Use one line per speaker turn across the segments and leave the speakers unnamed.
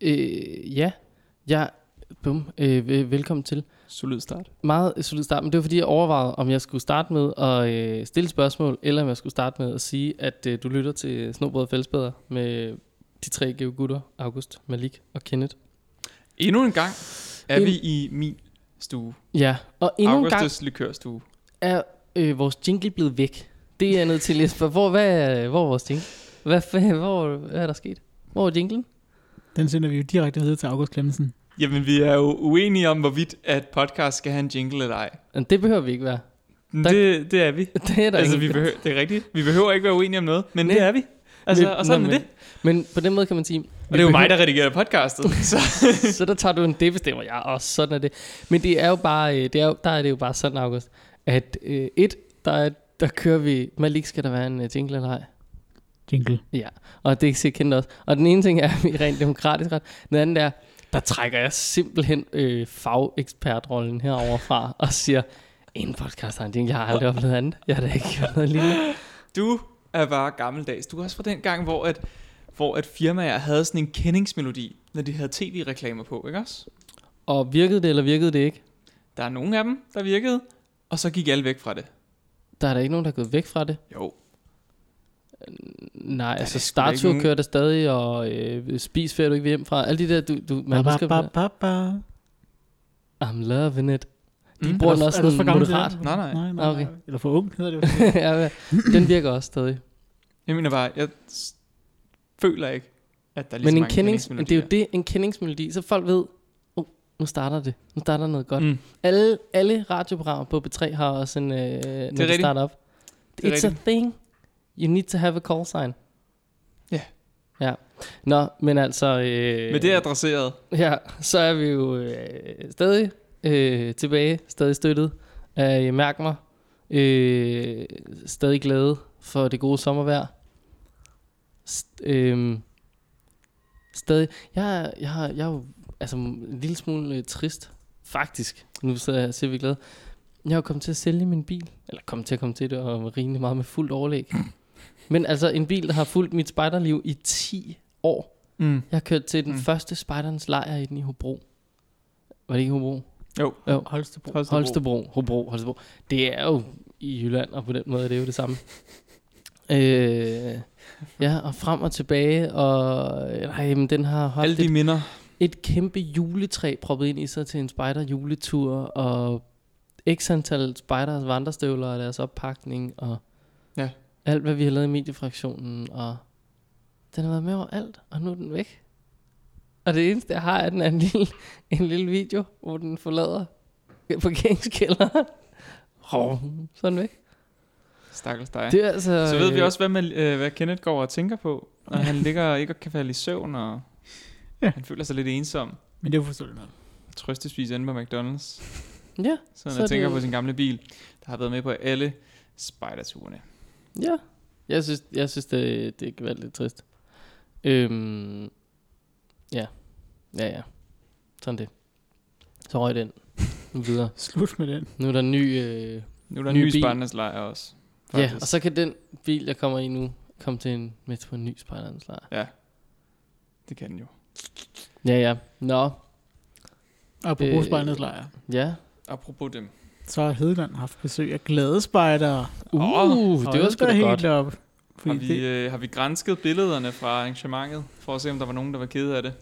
Øh, ja, jeg... Bum, øh, vel- velkommen til.
Solid start.
Meget solid start, men det var fordi, jeg overvejede, om jeg skulle starte med at øh, stille spørgsmål, eller om jeg skulle starte med at sige, at øh, du lytter til Snobrød og Fællesbæder med de tre geogutter, August, Malik og Kenneth.
Endnu en gang er
En-
vi i min stue.
Ja, og endnu en gang
Augustus likørstue.
er øh, vores jingle blevet væk. Det er jeg nødt til at læse for. Hvor, hvad, hvor er vores jingle? Hvad, fa- hvor, hvad er der sket? Hvor er jinglen?
Den sender vi jo direkte videre til August Clemmensen.
Jamen, vi er jo uenige om, hvorvidt at podcast skal have en jingle eller ej.
Men Det behøver vi ikke være.
Men
Der-
Det, det er vi.
Det er der
altså,
ingen-
vi behøver, det er rigtigt. Vi behøver ikke være uenige om noget, men
Nej.
det er vi. Altså,
Men-
og sådan
nå,
er
men-
det.
Men på den måde kan man sige...
Og det er jo mig, der redigerer podcastet. Så.
så der tager du en, det bestemmer jeg, og sådan er det. Men det er jo bare, øh, det er jo, der er det jo bare sådan, August, at øh, et, der, er, der kører vi, Malik skal der være en øh, jingle eller ej?
Jingle.
Ja, og det ser kendt også. Og den ene ting er, at vi er rent demokratisk ret. Den anden er, der trækker jeg simpelthen øh, fagekspertrollen herover fra og siger, en podcast har en jingle, jeg har aldrig oplevet andet. Jeg har da ikke gjort noget lignende.
Du er bare gammeldags. Du er også fra den gang, hvor at, hvor at firmaer havde sådan en kendingsmelodi, når de havde tv-reklamer på, ikke også?
Og virkede det, eller virkede det ikke?
Der er nogle af dem, der virkede, og så gik alle væk fra det.
Der er der ikke nogen, der er gået væk fra det.
Jo.
Nej, altså
sgu da ikke
Startur
nogen-
kører der stadig, og øh, Spis før du ikke vil hjem fra. Alle de der, du, du man husker,
ba, ba, ba.
I'm loving it. De
Mm.
bruger
Er
den
du-
også
er du for
sådan
gammel til
moderat.
det?
Nej, nej.
nej,
Ah, okay.
nej. Eller for ung hedder det jo.
ja, ja. den virker også stadig.
Jeg mener bare, jeg s- føler ikke, at der er lige
Men
så
en
mange
kendings, det er jo
kendingsmelodier.
det, en kendingsmelodi, så folk ved, oh, nu starter det. Nu starter noget godt. Mm.
Mm.
Alle, alle radioprogrammer på B3 har også en, øh, når de
rigtigt.
starter op. It's
Det er
a thing. You need to have a call sign.
Ja.
Ja. Nå, men altså... Øh,
Men det er adresseret.
Ja, så er vi jo øh, stadig øh, tilbage, stadig støttet af øh, Mærk mig. Øh, stadig glade for det gode sommervejr. St- øh, stadig, jeg, er- jeg, har, jeg er jo altså, en lille smule øh, trist, faktisk. Nu sidder jeg og siger, vi er glade. Jeg er jo kommet til at sælge min bil. Eller kommet til at komme til det, og rimelig meget med fuldt overlæg. Men altså en bil, der har fulgt mit spejderliv i 10 år.
Mm.
Jeg kørte til den mm.
Mm.
første spejderens lejr i den i Hobro. Var det ikke Hobro?
Jo.
jo.
Holstebro.
Holstebro.
Holstebro. Hobro, Holstebro. Det er jo i Jylland, og på den måde er det jo det samme. øh, ja, og frem og tilbage, og nej, men den har
Alle
holdt
de
et,
minder.
et kæmpe juletræ proppet ind i sig til en spejder juletur, og x antal spejders vandrestøvler og deres oppakning, og
Ja.
alt, hvad vi har lavet i mediefraktionen, og den har været med over alt, og nu er den væk. Og det eneste, jeg har, er, at den er en lille, en lille video, hvor den forlader parkeringskælderen. Hov, så er den væk.
Stakkels dig.
Det er altså...
Så ved vi
øh,
også, hvad, man, øh, hvad Kenneth går og tænker på, når han ligger og ikke kan falde i søvn, og
Ja.
ja. han føler sig lidt ensom.
Men det er jo forståeligt nok.
Trøstespis inde på McDonald's.
Ja,
Så han
Så er
så tænker
det-
på sin gamle bil, der har været med på alle spejderturene.
ja. Jeg synes, jeg synes det, det kan være lidt trist. Øhm, ja. Ja, ja. Sådan det. Så røg den. Nu videre.
Slut med den.
Nu er der en ny... Øh,
Nu er der en
Ny
ny
bil.
spejdernes lejr også.
ja,
faktisk.
og så kan den bil, jeg kommer i nu, komme til en, med på en ny spejderens lejr.
Ja, det kan den jo.
Ja, ja. Nå,
Og på
Øh,
øh, lejr.
ja.
Apropos dem.
Så har Hedeland haft besøg af glade spejdere.
Uh,
Hold
det var sgu
da
da
helt
godt.
Op.
Har
Fordi
vi,
det,
øh, har vi grænsket billederne fra arrangementet, for at se, om der var nogen, der var ked af det?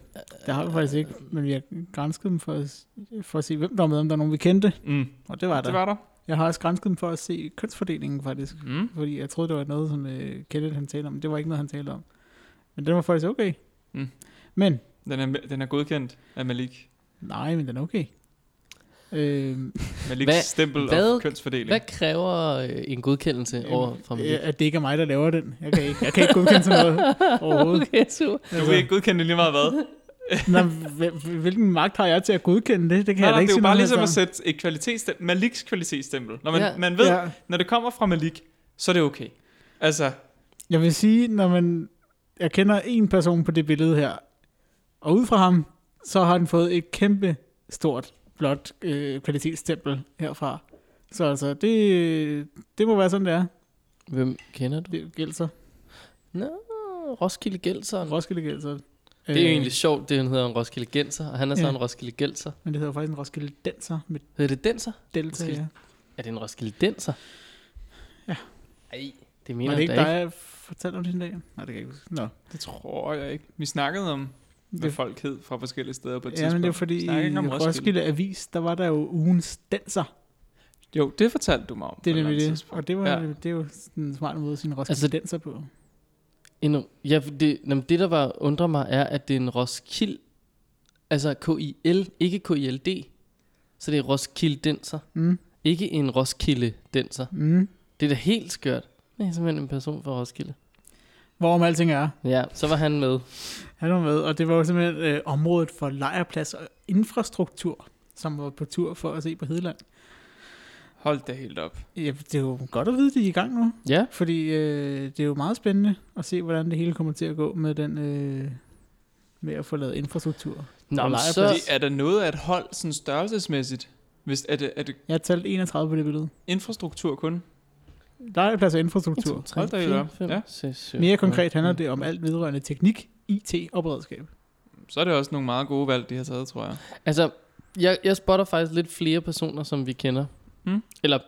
det har vi faktisk ikke, men vi har gransket dem for at, s- for at se, hvem der var med, om der er nogen, vi kendte.
Mm.
Og det var der.
Det var der.
Jeg har også gransket dem for at se kønsfordelingen faktisk,
Mm.
fordi jeg troede, det var noget, som øh, Kenneth han talte om, men det var ikke noget, han talte om. Men den var faktisk okay.
Mm.
Men,
Den, er, den er godkendt af Malik.
nej, men den er okay. Øh,
Maliks
Hvad-
stempel
hvad-
og kønsfordeling.
Hvad kræver øh, en godkendelse over fra mig?
øh, at det ikke er mig, der laver den. Jeg kan ikke, jeg kan ikke godkende sådan noget overhovedet.
Okay, super.
Du vil ikke godkende det lige meget hvad?
Nå, hvil- hvil- magt har jeg til at godkende det? Det kan
Nej,
jeg da
nej,
ikke
det er jo
sige
bare
noget
ligesom
om.
at sætte et kvalitetsstempel, Maliks kvalitetsstempel. Når man,
Ja.
ja. man ved, ja.
Ja,
når det kommer fra Malik, så er det okay. Altså,
jeg vil sige, når man... Jeg kender en person på det billede her, og ud fra ham, så har han fået et kæmpe stort, blåt øh, kvalitetsstempel herfra. Så altså, det, det må være sådan, det er.
Hvem kender du?
Det gælder så.
Nå, Roskilde Gældseren.
Roskilde gælder så. Øh,
Det er jo egentlig sjovt, det han hedder en Roskilde Genser, og han er så
Ja.
en Roskilde Gelser.
Men det hedder jo faktisk en Roskilde Danser med
Hedder det Denser?
Delta.
Roskilde-
Ja.
Er det en Roskilde Denser?
Ja.
Ej, det
Var
mener
det
jeg
ikke
da
dig,
ikke.
jeg fortalte om det den dag? Nej, det kan jeg ikke huske. Nå.
Det tror jeg ikke. Vi snakkede om, hvad
Det,
folk hed fra forskellige steder på et
ja,
tidspunkt.
men det var fordi i
Snakker ikke om
Roskilde.
Roskilde.
Roskilde Avis, der var der jo ugens danser.
Jo, det fortalte du mig om.
Det
på et
er
eller
nemlig
andet
det.
tidspunkt.
Og det, var,
Ja.
ja. det er jo sådan en smart måde at sige en Roskilde
Altså-
altså, danser på.
Endnu. Ja, for det, jamen, det der var, undrer mig, er, at det er en Roskilde, altså K-I-L, ikke K-I-L-D, så det er Roskilde Denser,
Mm,
ikke en Roskilde Denser.
mm.
Det er da helt skørt. Det er simpelthen en person fra Roskilde.
Hvorom alting er.
Ja, så var han med.
Han var med, og det var jo simpelthen øh, området for lejrplads og infrastruktur, som var på tur for at se på Hedeland.
Hold da helt op.
Ja, det er jo godt at vide, at de er i gang nu,
Ja,
fordi øh, det er jo meget spændende at se, hvordan det hele kommer til at gå med den... Øh, med at få lavet infrastruktur.
Nå,
Og
men
lejrplads.
så,
Det er der noget af et hold sådan størrelsesmæssigt? Hvis er det, er det
Jeg har talt 31 på det billede.
infrastruktur kun?
Lejrplads og infrastruktur.
3,
Hold da
4,
op.
5,
Ja.
6, 7,
Mere konkret handler det om alt vedrørende teknik, IT og beredskab.
Så er det også nogle meget gode valg, de har taget, tror jeg.
Altså, jeg, jeg spotter faktisk lidt flere personer, som vi kender.
Mm.
Eller,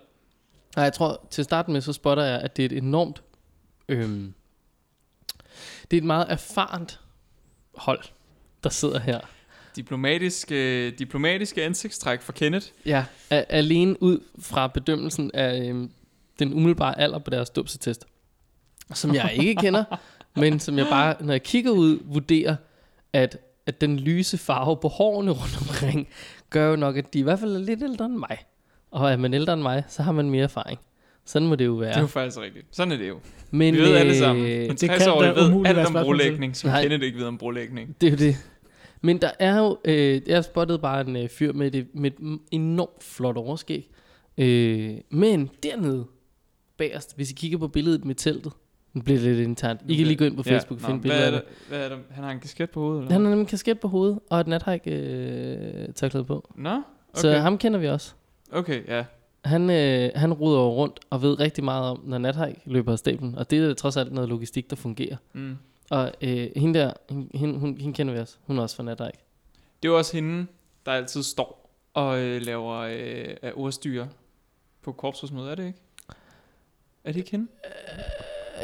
nej, jeg tror, til at starte med, så spotter jeg, at det er et enormt... Øhm, det er et meget erfarent hold, der sidder her.
Diplomatiske, diplomatiske ansigtstræk fra Kenneth.
Ja. A- alene ud fra bedømmelsen af øhm, den umiddelbare alder på deres dubsetest. Som jeg ikke kender, men som jeg bare, når jeg kigger ud, vurderer, at, at den lyse farve på hårene rundt omkring, gør jo nok, at de i hvert fald er lidt ældre end mig. Og er man ældre end mig, så har man mere erfaring. Sådan må det jo
Ja.
være.
Det er jo faktisk rigtigt. Sådan er det jo.
men,
Vi ved alle
øh,
sammen. Men
det kan
60 år
da
ved
umuligt være
alt om
spørgsmål til.
brolægning, som
Nej.
Kenneth ikke ved om brolægning.
Det er jo det. Men der er jo, øh, jeg spottede bare en øh, fyr med, det, med et m- enormt flot overskæg. Øh, men dernede, bagerst, hvis I kigger på billedet med teltet, nu bliver det lidt internt. I kan lige gå ind på Facebook og
nå,
finde billeder
hvad
af
er
det.
det? Hvad er det? Han har en kasket på hovedet? Eller?
Han har nemlig en kasket på hovedet, og et nathajk øh, tørklæde på. Okay.
Nå, okay.
Så ham kender vi også.
okay, ja.
Han, øh, han ruder jo rundt og ved rigtig meget om, når nathajk løber af stablen. Og det er trods alt noget logistik, der fungerer.
Mm.
Og øh, hende der, hende, hende, hun, hende kender vi også. Hun er også fra nathajk.
Det er jo også hende, der altid står og øh, laver øh, af ordstyre på korpsrådsmødet, er det ikke? Er det ikke hende?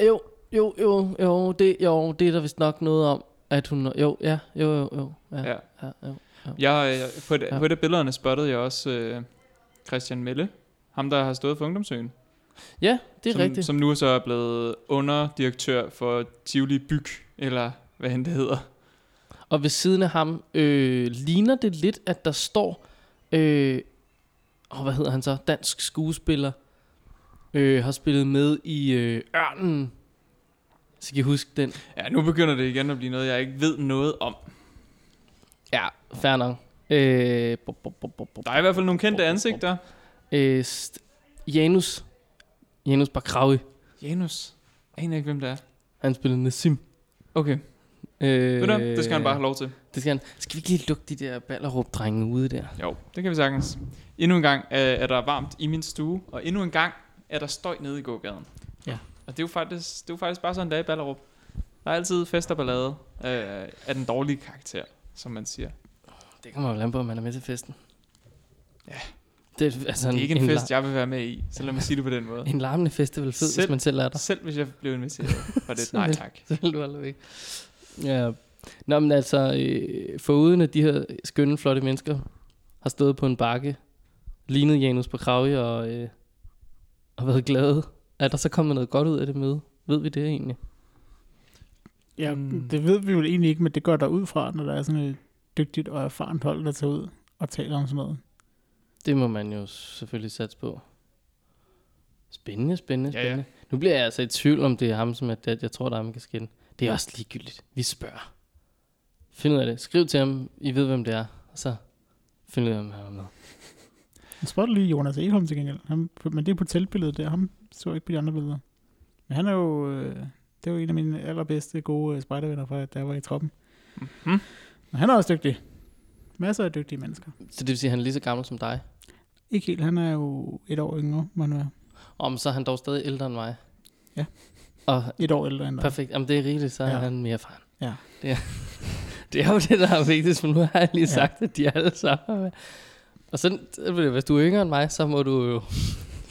Jo, jo, jo, jo, det, jo, det er der vist nok noget om, at hun... Jo, ja, jo, jo, jo. Ja, ja.
Ja.
ja jo.
Jeg, øh, på, et,
Ja.
ja. på et af billederne spottede jeg også øh, Christian Melle, ham der har stået for Ungdomsøen.
ja det er
som,
som, rigtigt. Som,
Som nu så er blevet underdirektør for Tivoli Byg, eller hvad han det hedder.
og ved siden af ham øh, ligner det lidt, at der står... Øh, åh, hvad hedder han så? Dansk skuespiller. Øh, har spillet med i øh, Ørnen. Så kan I huske den.
Ja, nu begynder det igen at blive noget, jeg ikke ved noget om.
Ja, fair nok. Øh, bo, bo, bo, bo, bo.
Der er i hvert fald nogle kendte ansigter.
Øh, st- Janus. Janus Bakrawi.
Janus. Jeg aner ikke, hvem det er.
Han spillede Nassim.
Okay,
Øh,
øh, ved du, hvad? det skal han bare have lov til.
Det skal, han. skal vi ikke lige lukke de der ballerup-drenge ude der?
Jo, det kan vi sagtens. Endnu en gang øh, er der varmt i min stue, og endnu en gang er der støj nede i gågaden.
Ja.
Og det er jo faktisk, det er jo faktisk bare sådan, der i Ballerup. Der er altid fest og ballade øh, af den dårlige karakter, som man siger.
Altså Det kommer jo an på, om man er med til festen.
Ja.
Det er, altså
Det er ikke en fest,
lar-
jeg vil være med i, så lad mig sige det på den måde.
en larmende festival fed, hvis
Selv-
man selv er der.
Selv hvis jeg blev inviteret, var det et nej tak.
Så vil du aldrig væk. Ja. Nå, men altså, øh, foruden at de her skønne, flotte mennesker har stået på en bakke, lignet Janus på Kravi og, øh, og været glade, er der så kommet noget godt ud af det møde? Ved vi det egentlig?
Ja,
Mm.
mm. det ved vi jo egentlig ikke, men det går der ud fra, når der er sådan et dygtigt og erfarent hold, der tager ud og taler om sådan noget.
Det må man jo selvfølgelig satse på. Spændende, spændende,
Ja, ja.
spændende. Ja, ja. Nu bliver jeg altså i tvivl om, det er ham, som er dead. Jeg tror, det er ham, kan skinne. Det er også ligegyldigt. Vi spørger. Find ud af det. Skriv til ham. I ved, hvem det er. Og så find ud af, om han er med.
Jeg spotter lige Jonas Eholm til gengæld, ham, men det er på teltbilledet der, ham så jeg ikke på de andre billeder. Men han er jo, øh, det er jo en af mine allerbedste gode øh, spejdervenner fra, da jeg var i troppen.
Mm-hmm.
Men han er også dygtig. Masser af dygtige mennesker.
Så det vil sige, at han er lige så gammel som dig.
Ikke helt, han er jo et år yngre, må han være.
Om så er han dog stadig ældre end mig.
Ja.
Og
Et år ældre end dig.
perfekt. Om det er rigtigt, så er ja.
Ja.
han mere erfaren.
Ja.
Det er. Det er jo det, der er vigtigst, for nu har jeg lige sagt, ja. at de alle sammen er med. Og sådan, så vil det- hvis du er yngre end mig, så må du jo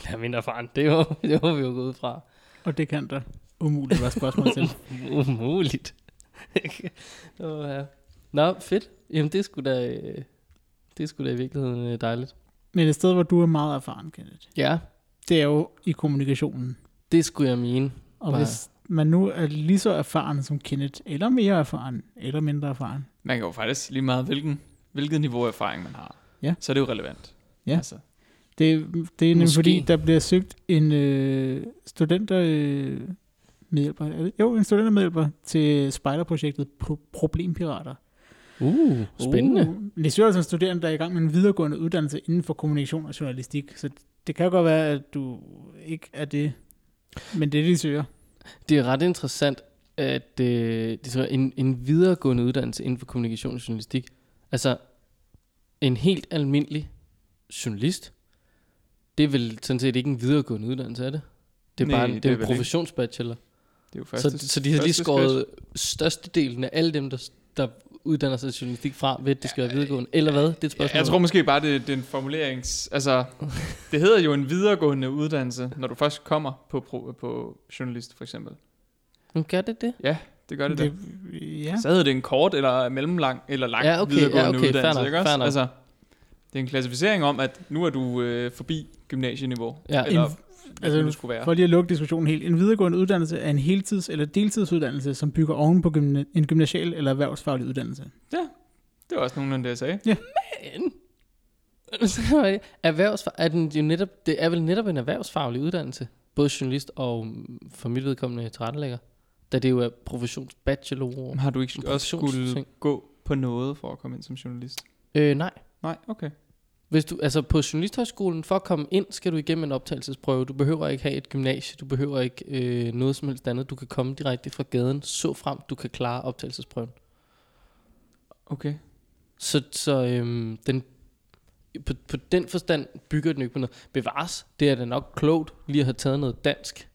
være mindre erfaren. Det må, det må vi jo gå ud fra.
Og det kan der umuligt være spørgsmål til.
Umuligt. Åh, ja. Nå, fedt. Jamen, det skulle da... øh, Det skulle da i virkeligheden øh, dejligt.
Men et sted, hvor du er meget erfaren, Kenneth,
Ja,
det er jo i kommunikationen.
det skulle jeg mene.
Og
Nej.
hvis man nu er lige så erfaren som Kenneth, eller mere erfaren, eller mindre erfaren,
Man kan jo faktisk sige lige meget, hvilken, hvilket niveau af erfaring man har.
Ja.
Så er det jo relevant.
Ja.
Altså,
Det, det er nemlig
Måske.
fordi, der bliver søgt en øh, studenter øh, medhjælper, er det- jo en studentermedhjælper til spejderprojektet Pro- Problempirater.
Uh, spændende. Uh.
Uh, det søger altså en studerende, der er i gang med en videregående uddannelse inden for kommunikation og journalistik, så det kan jo godt være, at du ikke er det, men det er det, de søger.
Det er ret interessant, at øh, det er en, en videregående uddannelse inden for kommunikation og journalistik. Altså, en helt almindelig journalist, det er vel sådan set ikke en videregående uddannelse, er det? Det er
Nej,
bare
det
en, det
er
er
vel
en
ikke.
professionsbachelor.
det er jo første,
Så, så de har lige
første skridt.
skåret størstedelen af alle dem, der, der uddanner sig til journalistik fra, ved at det skal være videregående. Eller hvad? Det er et
Ja,
spørgsmål.
jeg tror måske bare, det, det er en formulerings... Altså, det hedder jo en videregående uddannelse, når du først kommer på, pro, på journalist, for eksempel.
Men gør det det?
Det gør det, det
ja.
der. Så hedder det en kort eller mellemlang eller lang
Ja, okay,
videregående
ja, okay, fair
uddannelse,
nok,
ikke
fair
også?
nok.
Altså, det er en klassificering om, at nu er du øh, forbi gymnasieniveau.
Ja.
Eller,
En-
altså,
altså,
det skulle være.
For lige at lukke diskussionen helt. En videregående uddannelse er en heltids- eller deltidsuddannelse, som bygger oven på gymna- en gymnasial eller erhvervsfaglig uddannelse.
Det var også nogenlunde det, jeg sagde.
Men... Erhvervsfag... Er den jo netop, det er vel netop en erhvervsfaglig uddannelse? Både journalist og mm, for mit vedkommende tilrettelægger. Da det jo er professionsbachelor.
Har du ikke
En
også skulle
professionsting.
gå på noget for at komme ind som journalist?
Øh, nej.
Nej, okay.
Hvis du, altså på Journalisthøjskolen, for at komme ind, skal du igennem en optagelsesprøve. Du behøver ikke have et gymnasie, du behøver ikke øh, noget som helst andet. Du kan komme direkte fra gaden, så frem du kan klare optagelsesprøven.
Okay.
Så, så øhm, den, på, på den forstand bygger den jo ikke på noget. Bevares, det er da nok klogt lige at have taget noget dansk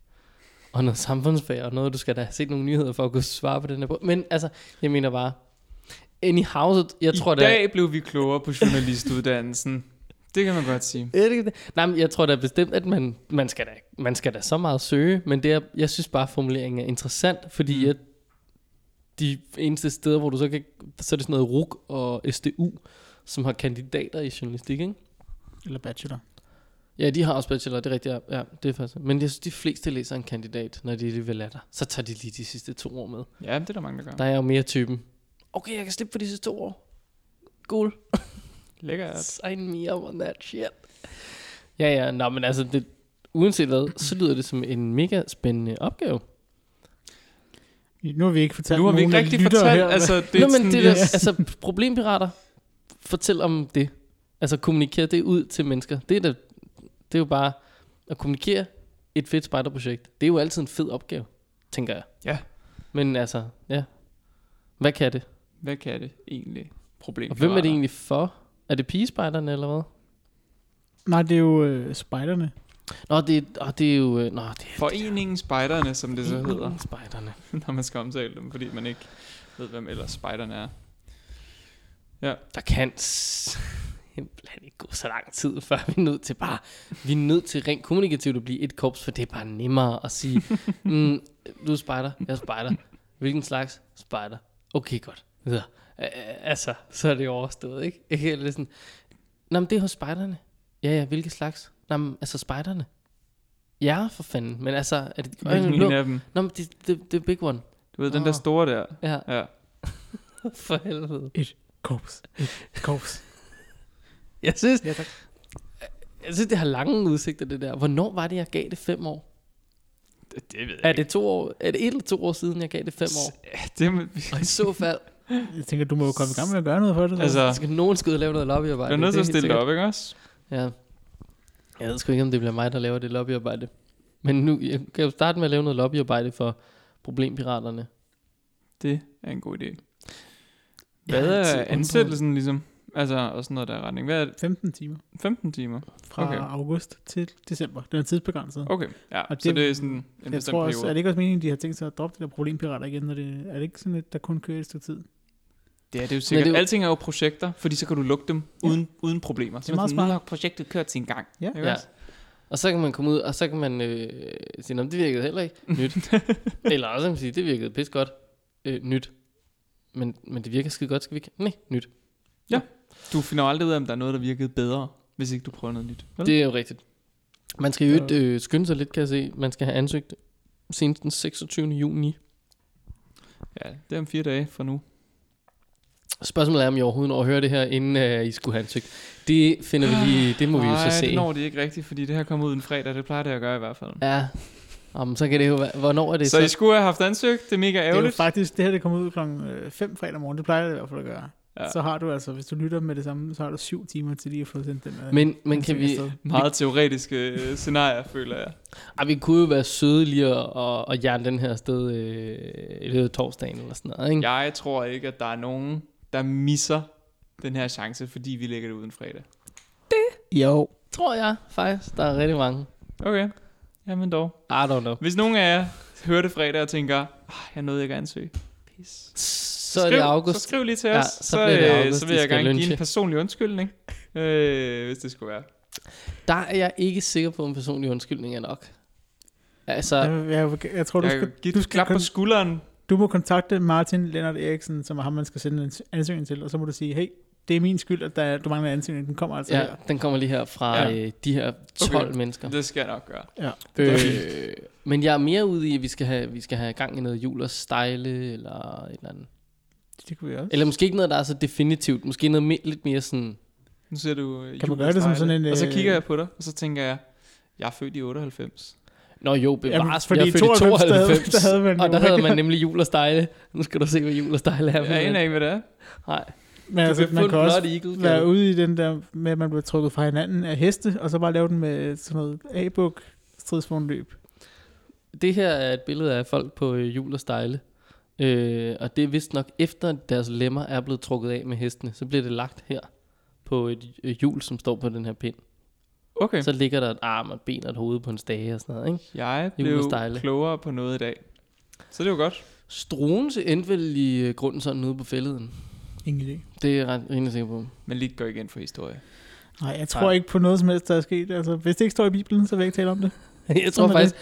og noget samfundsfag og noget, du skal da have set nogle nyheder for at kunne svare på den her. bog. Men altså, jeg mener bare, anyhow, så jeg
I
tror da...
dag blev vi klogere på journalistuddannelsen. det kan man godt sige.
Er det ikke det? Nej, men jeg tror da bestemt, at man, man, skal, da, man skal da så meget søge, men det er, jeg synes bare, at formuleringen er interessant, fordi
Mm.
mm. jeg, de eneste steder, hvor du så kan, så er det sådan noget RUG og SDU, som har kandidater i journalistik, ikke?
Eller bachelor.
Ja, de har også bachelor, det er rigtigt, ja, ja det er faktisk. Men jeg synes, de fleste læser en kandidat, når de lige vil lade dig. Så tager de lige de sidste to år med.
Ja, det er der mange, der
Der
gør.
er jeg jo mere typen, okay, jeg kan slippe for de sidste to år. Cool.
Lækkert.
Sign me up on that shit. Ja, ja, nå, men altså, det, uanset hvad, så lyder det som en mega spændende opgave.
Nu har vi ikke fortalt
Nu har vi
nogen
ikke
af
rigtig
lytter
fortalt,
her,
altså
Det
det
nå,
er sådan,
men det
vi-
der, altså, problempirater, fortæl om det. Altså, kommunikere det ud til mennesker. Det er, da, det er jo bare at kommunikere et fedt spejderprojekt. Det er jo altid en fed opgave, tænker jeg.
Ja.
Men altså, ja. Hvad kan det?
Hvad kan det egentlig? Problem
Og hvem er det egentlig for? Er det pigespejderne eller hvad?
altså-
hvad- Nej, det er jo øh, spejderne.
Nå, det, åh, det er jo... øh, Nå, det er
Foreningen Spejderne, som det så hedder,
Spejderne.
når man skal omtale dem, fordi man ikke ved, hvem ellers spejderne er.
der kan simpelthen ikke gå så lang tid, før vi er nødt til bare, vi er nødt til rent kommunikativt at blive et korps, for det er bare nemmere at sige, mm, du er spejder, jeg er spejder. Hvilken slags spejder? Okay, godt. Videre. Øh, altså, så er det overstået, ikke? ikke? Eller sådan, Nå, men det er hos spejderne. Ja, ja, hvilke slags? Nå, men altså spejderne. Ja, for fanden. Men altså, er det...
Hvilken en af dem?
Nå, men det, det, det er big one.
Du ved, den der
Åh.
store der.
Ja,
Ja.
for helvede.
Korps. Et Korps.
Jeg synes,
ja, tak.
Jeg synes, det har lange udsigter, det der. Hvornår var det, jeg gav det fem år?
Det, det ved jeg
Er det, to år? er det et eller to år siden, jeg gav det fem år?
ikke.
Og i så fald,
Jeg tænker, du må jo komme i gang med at gøre noget for det. så.
Altså,
så skal nogen skulle lave noget lobbyarbejde.
du er nødt til
Det
at
helt
stille dig
sikkert.
op, ikke også?
Ja. Jeg ved sgu ikke, om det bliver mig, der laver det lobbyarbejde. Men nu jeg kan jo starte med at lave noget lobbyarbejde for problempiraterne.
Det er en god idé.
Jeg
Hvad
har altid
er
undret-
ansættelsen ligesom? Altså, og sådan noget der er retning. Hvad er det?
15 timer
15 timer?
fra
Okay.
okay. august til december. Den er tidsbegrænset.
Okay, ja.
Og
så
det-
det er sådan en bestemt
jeg tror også, er
periode.
det ikke også meningen, de har tænkt sig at droppe det der problempirater igen? Når det, er det ikke sådan, at der kun kører et stykke tid?
Det er det jo sikkert.
det
Det
er
er
jo-
Alting er jo projekter, fordi så kan du lukke dem
Ja.
ja. uden, uden problemer. Så
Det er meget
sådan,
smart.
Nu har projektet kørt sin gang.
Ja.
Ikke
Ja.
også?
Og så kan man komme ud, og så kan man øh, sige, "Nå, men det virkede heller ikke. Nyt. Eller også kan man sige, det virkede pis godt. Øh, nyt. Men, men det virker skide godt, skal vi ikke? Nej, nyt.
Du finder jo aldrig ud af, om der er noget, der virkede bedre, hvis ikke du prøver noget nyt. Vel?
Det er jo rigtigt. Man skal jo øh, skynde sig lidt, kan jeg se. Man skal have ansøgt senest den 26. juni.
Ja, det er om fire dage fra nu.
Spørgsmålet er, om I overhovedet når at høre det her, inden øh, I skulle have ansøgt. Det finder vi lige, det må vi jo så se.
det når det ikke rigtigt, fordi det her kommer ud en fredag. Det plejer det at gøre i hvert fald.
Ja, Jamen, så kan det jo være. Hvornår er det
Så I skulle have haft ansøgt. Det er mega
Det er jo
ærgerligt.
faktisk, det her det kommer ud klokken 5 fredag morgen, det plejer det i hvert fald at gøre. Ja.
Ja.
Så har du altså, hvis du lytter med det samme, så har du syv timer til lige at få sendt den. øh,
Men, men kan
ansøgning
vi,
afsted.
Meget teoretiske øh, scenarier, føler jeg.
Ej, vi kunne jo være søde lige at, at, at jerne den her sted øh, i løbet af torsdagen eller sådan noget, ikke?
Jeg tror ikke, at der er nogen, der misser den her chance, fordi vi lægger det ud en fredag.
Jo.
Tror jeg faktisk, der er rigtig mange.
Okay. Jamen dog.
I don't know.
Hvis nogen af jer hører det fredag og tænker, ah, jeg nåede ikke at ansøge. Pis.
Så er det august.
Så skriv lige til
Ja,
ja, os,
så
så,
bliver det
øh,
august,
så
I
vil jeg
skal
gerne give
lynche.
en personlig undskyldning, øh, hvis det skulle være.
Der er jeg ikke sikker på, om personlig undskyldning er nok. Altså, ja.
Jeg, jeg, jeg tror, du
Jeg kan
skal,
give
du,
et
skal
klap
kun,
på skulderen.
du må kontakte Martin Lennart Eriksen, som er ham, man skal sende en ansøgning til, og så må du sige, hey, det er min skyld, at der, er- du mangler en ansøgning, den kommer altså her.
ja, den kommer lige her fra
Ja.
øh, de her 12 okay.
Okay.
mennesker.
Det skal jeg nok gøre.
Øh,
fint.
men jeg er mere ude i, at vi skal have, vi skal have gang i noget jul og stejle, eller et eller andet.
Det kunne vi også.
Eller måske ikke noget, der er så definitivt. Måske noget me- lidt mere sådan...
Nu ser du øh,
Kan man
Julius
gøre det som
Vejle,
sådan en,
Og så
øh,
kigger jeg på dig, og så tænker jeg, jeg er født i 98.
Nå jo, bevares,
fordi
jeg er født i
92,
92,
der havde- der havde man
og
jo
der havde
ikke-
man nemlig jul og stejle. Nu skal du se, hvad jul og stejle er.
Jeg aner ikke, hvad det er.
Nej,
Men altså, man kan også
Eagle,
være ude i den der med, at man bliver trukket fra hinanden af heste, og så bare lave den med sådan noget A-buk stridsvognløb.
Det her er et billede af folk på øh, jul og stejle. Øh, og det er vist nok efter, at deres lemmer er blevet trukket af med hestene, så bliver det lagt her på et øh, hjul, som står på den her pind.
Okay,
Så ligger der et arm og et ben og et hoved på en stage og sådan noget. Ikke?
jeg
Julius
blev
Vejle.
klogere på noget i dag. Så det er jo godt.
Struens endte vel i øh, grunden sådan ude på fælleden.
Ingen idé.
Det er jeg ret, rimelig sikker på.
Men lige går igen for historie.
Nej, jeg tror
Nej.
ikke på noget som helst, der er sket. Altså, hvis det ikke står i Bibelen, så vil jeg ikke tale om det.
Jeg tror
Sådan er
faktisk,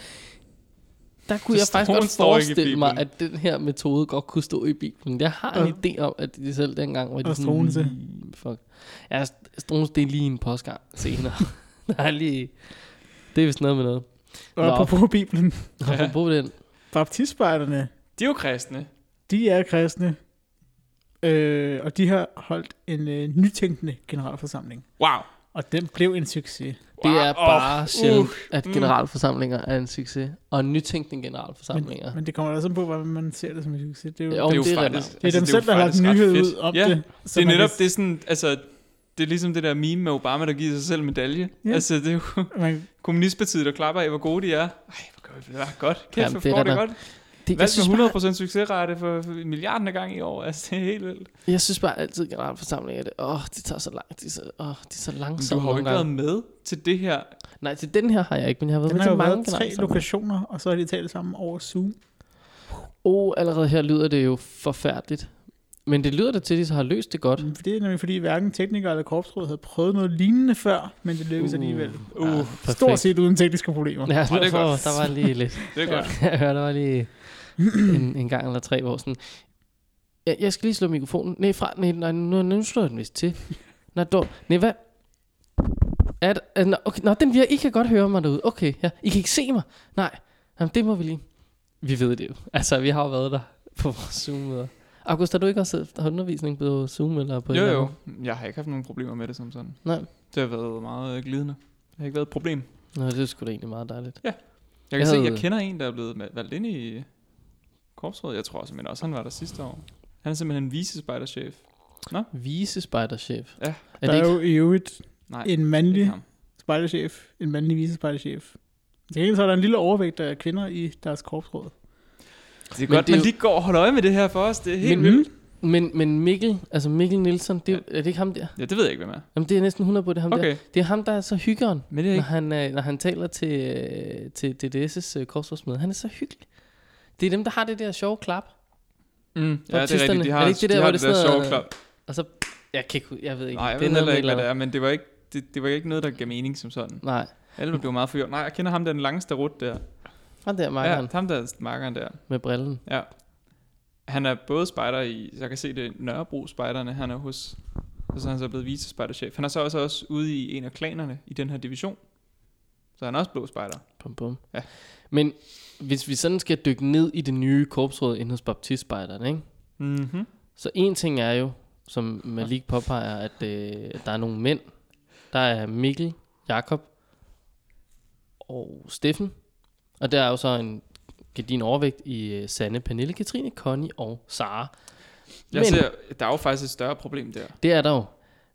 der kunne
Så
jeg faktisk
Struens
godt
står ikke i
forestille mig,
Bibelen.
at den her metode godt kunne stå i Bibelen. Jeg har en idé om, at det selv dengang var
Og
det sådan...
Struense.
"Mm, Fuck. Ja, Strunes, det er lige en postgang senere. der er lige... Det er vist noget med noget.
Og
Nå.
apropos Bibelen,
Og
Ja.
apropos den,
baptistspejderne,
De er jo kristne.
de er kristne, øh, og de har holdt en øh, nytænkende generalforsamling.
Wow.
Og den blev en succes.
det er
Wow.
bare
Åh,
sjældent,
uh.
at
mm.
generalforsamlinger er en succes. Og nytænkende
Men,
generalforsamlinger.
men det kommer også an på, hvordan man ser det som en succes. Det er jo,
Ja,
jo,
og
Det er jo
det er
faktisk,
rigtigt.
det er altså, dem
jo
selv, der har lagt
faktisk
en
ret
nyhed
fedt.
ud om
ja,
det.
Så det er
man
netop,
kan-
det er sådan, altså, det er ligesom det der meme med Obama, der giver sig selv medalje.
Ja.
Ja. Altså, det er jo
Man,
kommunistpartiet, der klapper af, hvor gode de er. Ej, hvor gør vi det der godt. Kæft,
Jamen,
Jamen, hvor
det er
får det,
der
det godt.
Det, jeg,
Valgt
synes
med
bare,
100% succesrate for, for milliarden af gang i år. Altså, det er helt vildt.
jeg synes bare altid, at generalforsamlinger, det, åh, det tager så langt, de er så, åh, de er så
Men
langsomme
du har jo
nogle
ikke
gange.
været med til det her.
Nej, til den her har jeg ikke, men jeg har været
den
med
har jo
til
været
mange
tre
generalforsamlinger.
lokationer, og så har de talt sammen over Zoom.
Oh, allerede her lyder det jo forfærdeligt. Men det lyder da til, at de så har løst det godt.
Mm, for Det er nemlig fordi, hverken teknikere eller korpsråd havde prøvet noget lignende før, men det lykkedes
Uh,
alligevel.
Uh,
ja,
Perfekt.
perfekt.
Stort set uden tekniske problemer.
Ja,
Åh, det er
for,
godt.
der var lige lidt.
Det er
Ja.
ja. godt.
Jeg hørte, der var lige en, en gang eller tre, hvor sådan... Jeg, jeg skal lige slå mikrofonen. Nej, fra, nej, nej nu, nu slår jeg den vist til. Nej, dog. Nej, hvad? Er der, er, nå, okay, nå, den, vir- I kan godt høre mig derude. Okay, ja. I kan ikke se mig. Nej, Jamen, det må vi lige. Vi ved det jo. Altså, vi har jo været der på vores Zoom-møder. August, har du ikke også siddet- har undervisning på Zoom eller på en
Jo,
eller
jo.
anden
Jeg har ikke haft nogen problemer med det som sådan.
måde? Nej,
Det har været meget øh, glidende. Det har ikke været et problem.
Nå, det er sgu da egentlig meget dejligt.
Jeg kan
Jeg
jeg se,
havde-
jeg kender en, der er blevet ma- valgt ind i korpsrådet. Jeg tror simpelthen også, han var der sidste år. Han er simpelthen vicespejderchef.
Vise spejderchef.
Ja.
Er
der
det
er
ikke?
jo i øvrigt
Nej,
en
det er ikke
mandlig
ham.
spejderchef, en mandlig vicespejderchef. Til gengæld så er der en lille overvægt af kvinder i deres korpsråd.
Det er
Men
godt,
det er
man
jo-
lige går og holder øje med det her for os. Det er helt
Men- hmm?
vildt.
Mm-hmm.
Men, men Mikkel, altså Mikkel Nielsen, det, er- er det ikke ham der?
Ja, det ved jeg ikke, hvem er.
Jamen, det er næsten 100 på, det er ham okay. der.
Okay,
Det er ham, der er så hyggeren,
men det er
når
ikke...
han, øh, når han taler til, øh, til DDS' øh, korsforsmøde. Han er så hyggelig. Det er dem, der har det der sjove klap.
Mm, ja, det er
Baptisterne.
rigtigt. De
Er
har,
det ikke det der,
de
hvor
har
det
det
er
der
sådan
sjove
noget-
klap.
Og så, jeg kan ikke, hu- jeg ved ikke.
Nej, jeg
Det er
ved heller
noget
ikke, hvad
med
det er, men det var ikke, det, det var ikke noget, der gav mening som sådan.
Nej,
Alle blev meget forgjort. Nej, jeg kender ham der, den lange starut der.
han der markeren
Ja, ham der, markeren der.
med brillen.
Ja. Han er både spejder i, jeg kan se det, er Nørrebro spejderne, han er hos, og så er han så blevet vicespejderchef. Han er så også, også ude i en af klanerne i den her division. Så han er også blå spejder.
Bum, bum.
Ja.
Men hvis vi sådan skal dykke ned i det nye korpsråd inden hos baptistspejderne, ikke?
Mm-hmm.
Så en ting er jo, som Malik påpeger, at øh, der er nogle mænd. Der er Mikkel, Jakob og Steffen. Og der er jo så en gardin overvægt i øh, Sanne, Pernille, Katrine, Connie og Sara.
Jeg
Men-
ser, der er jo faktisk et større problem der.
Det er der jo,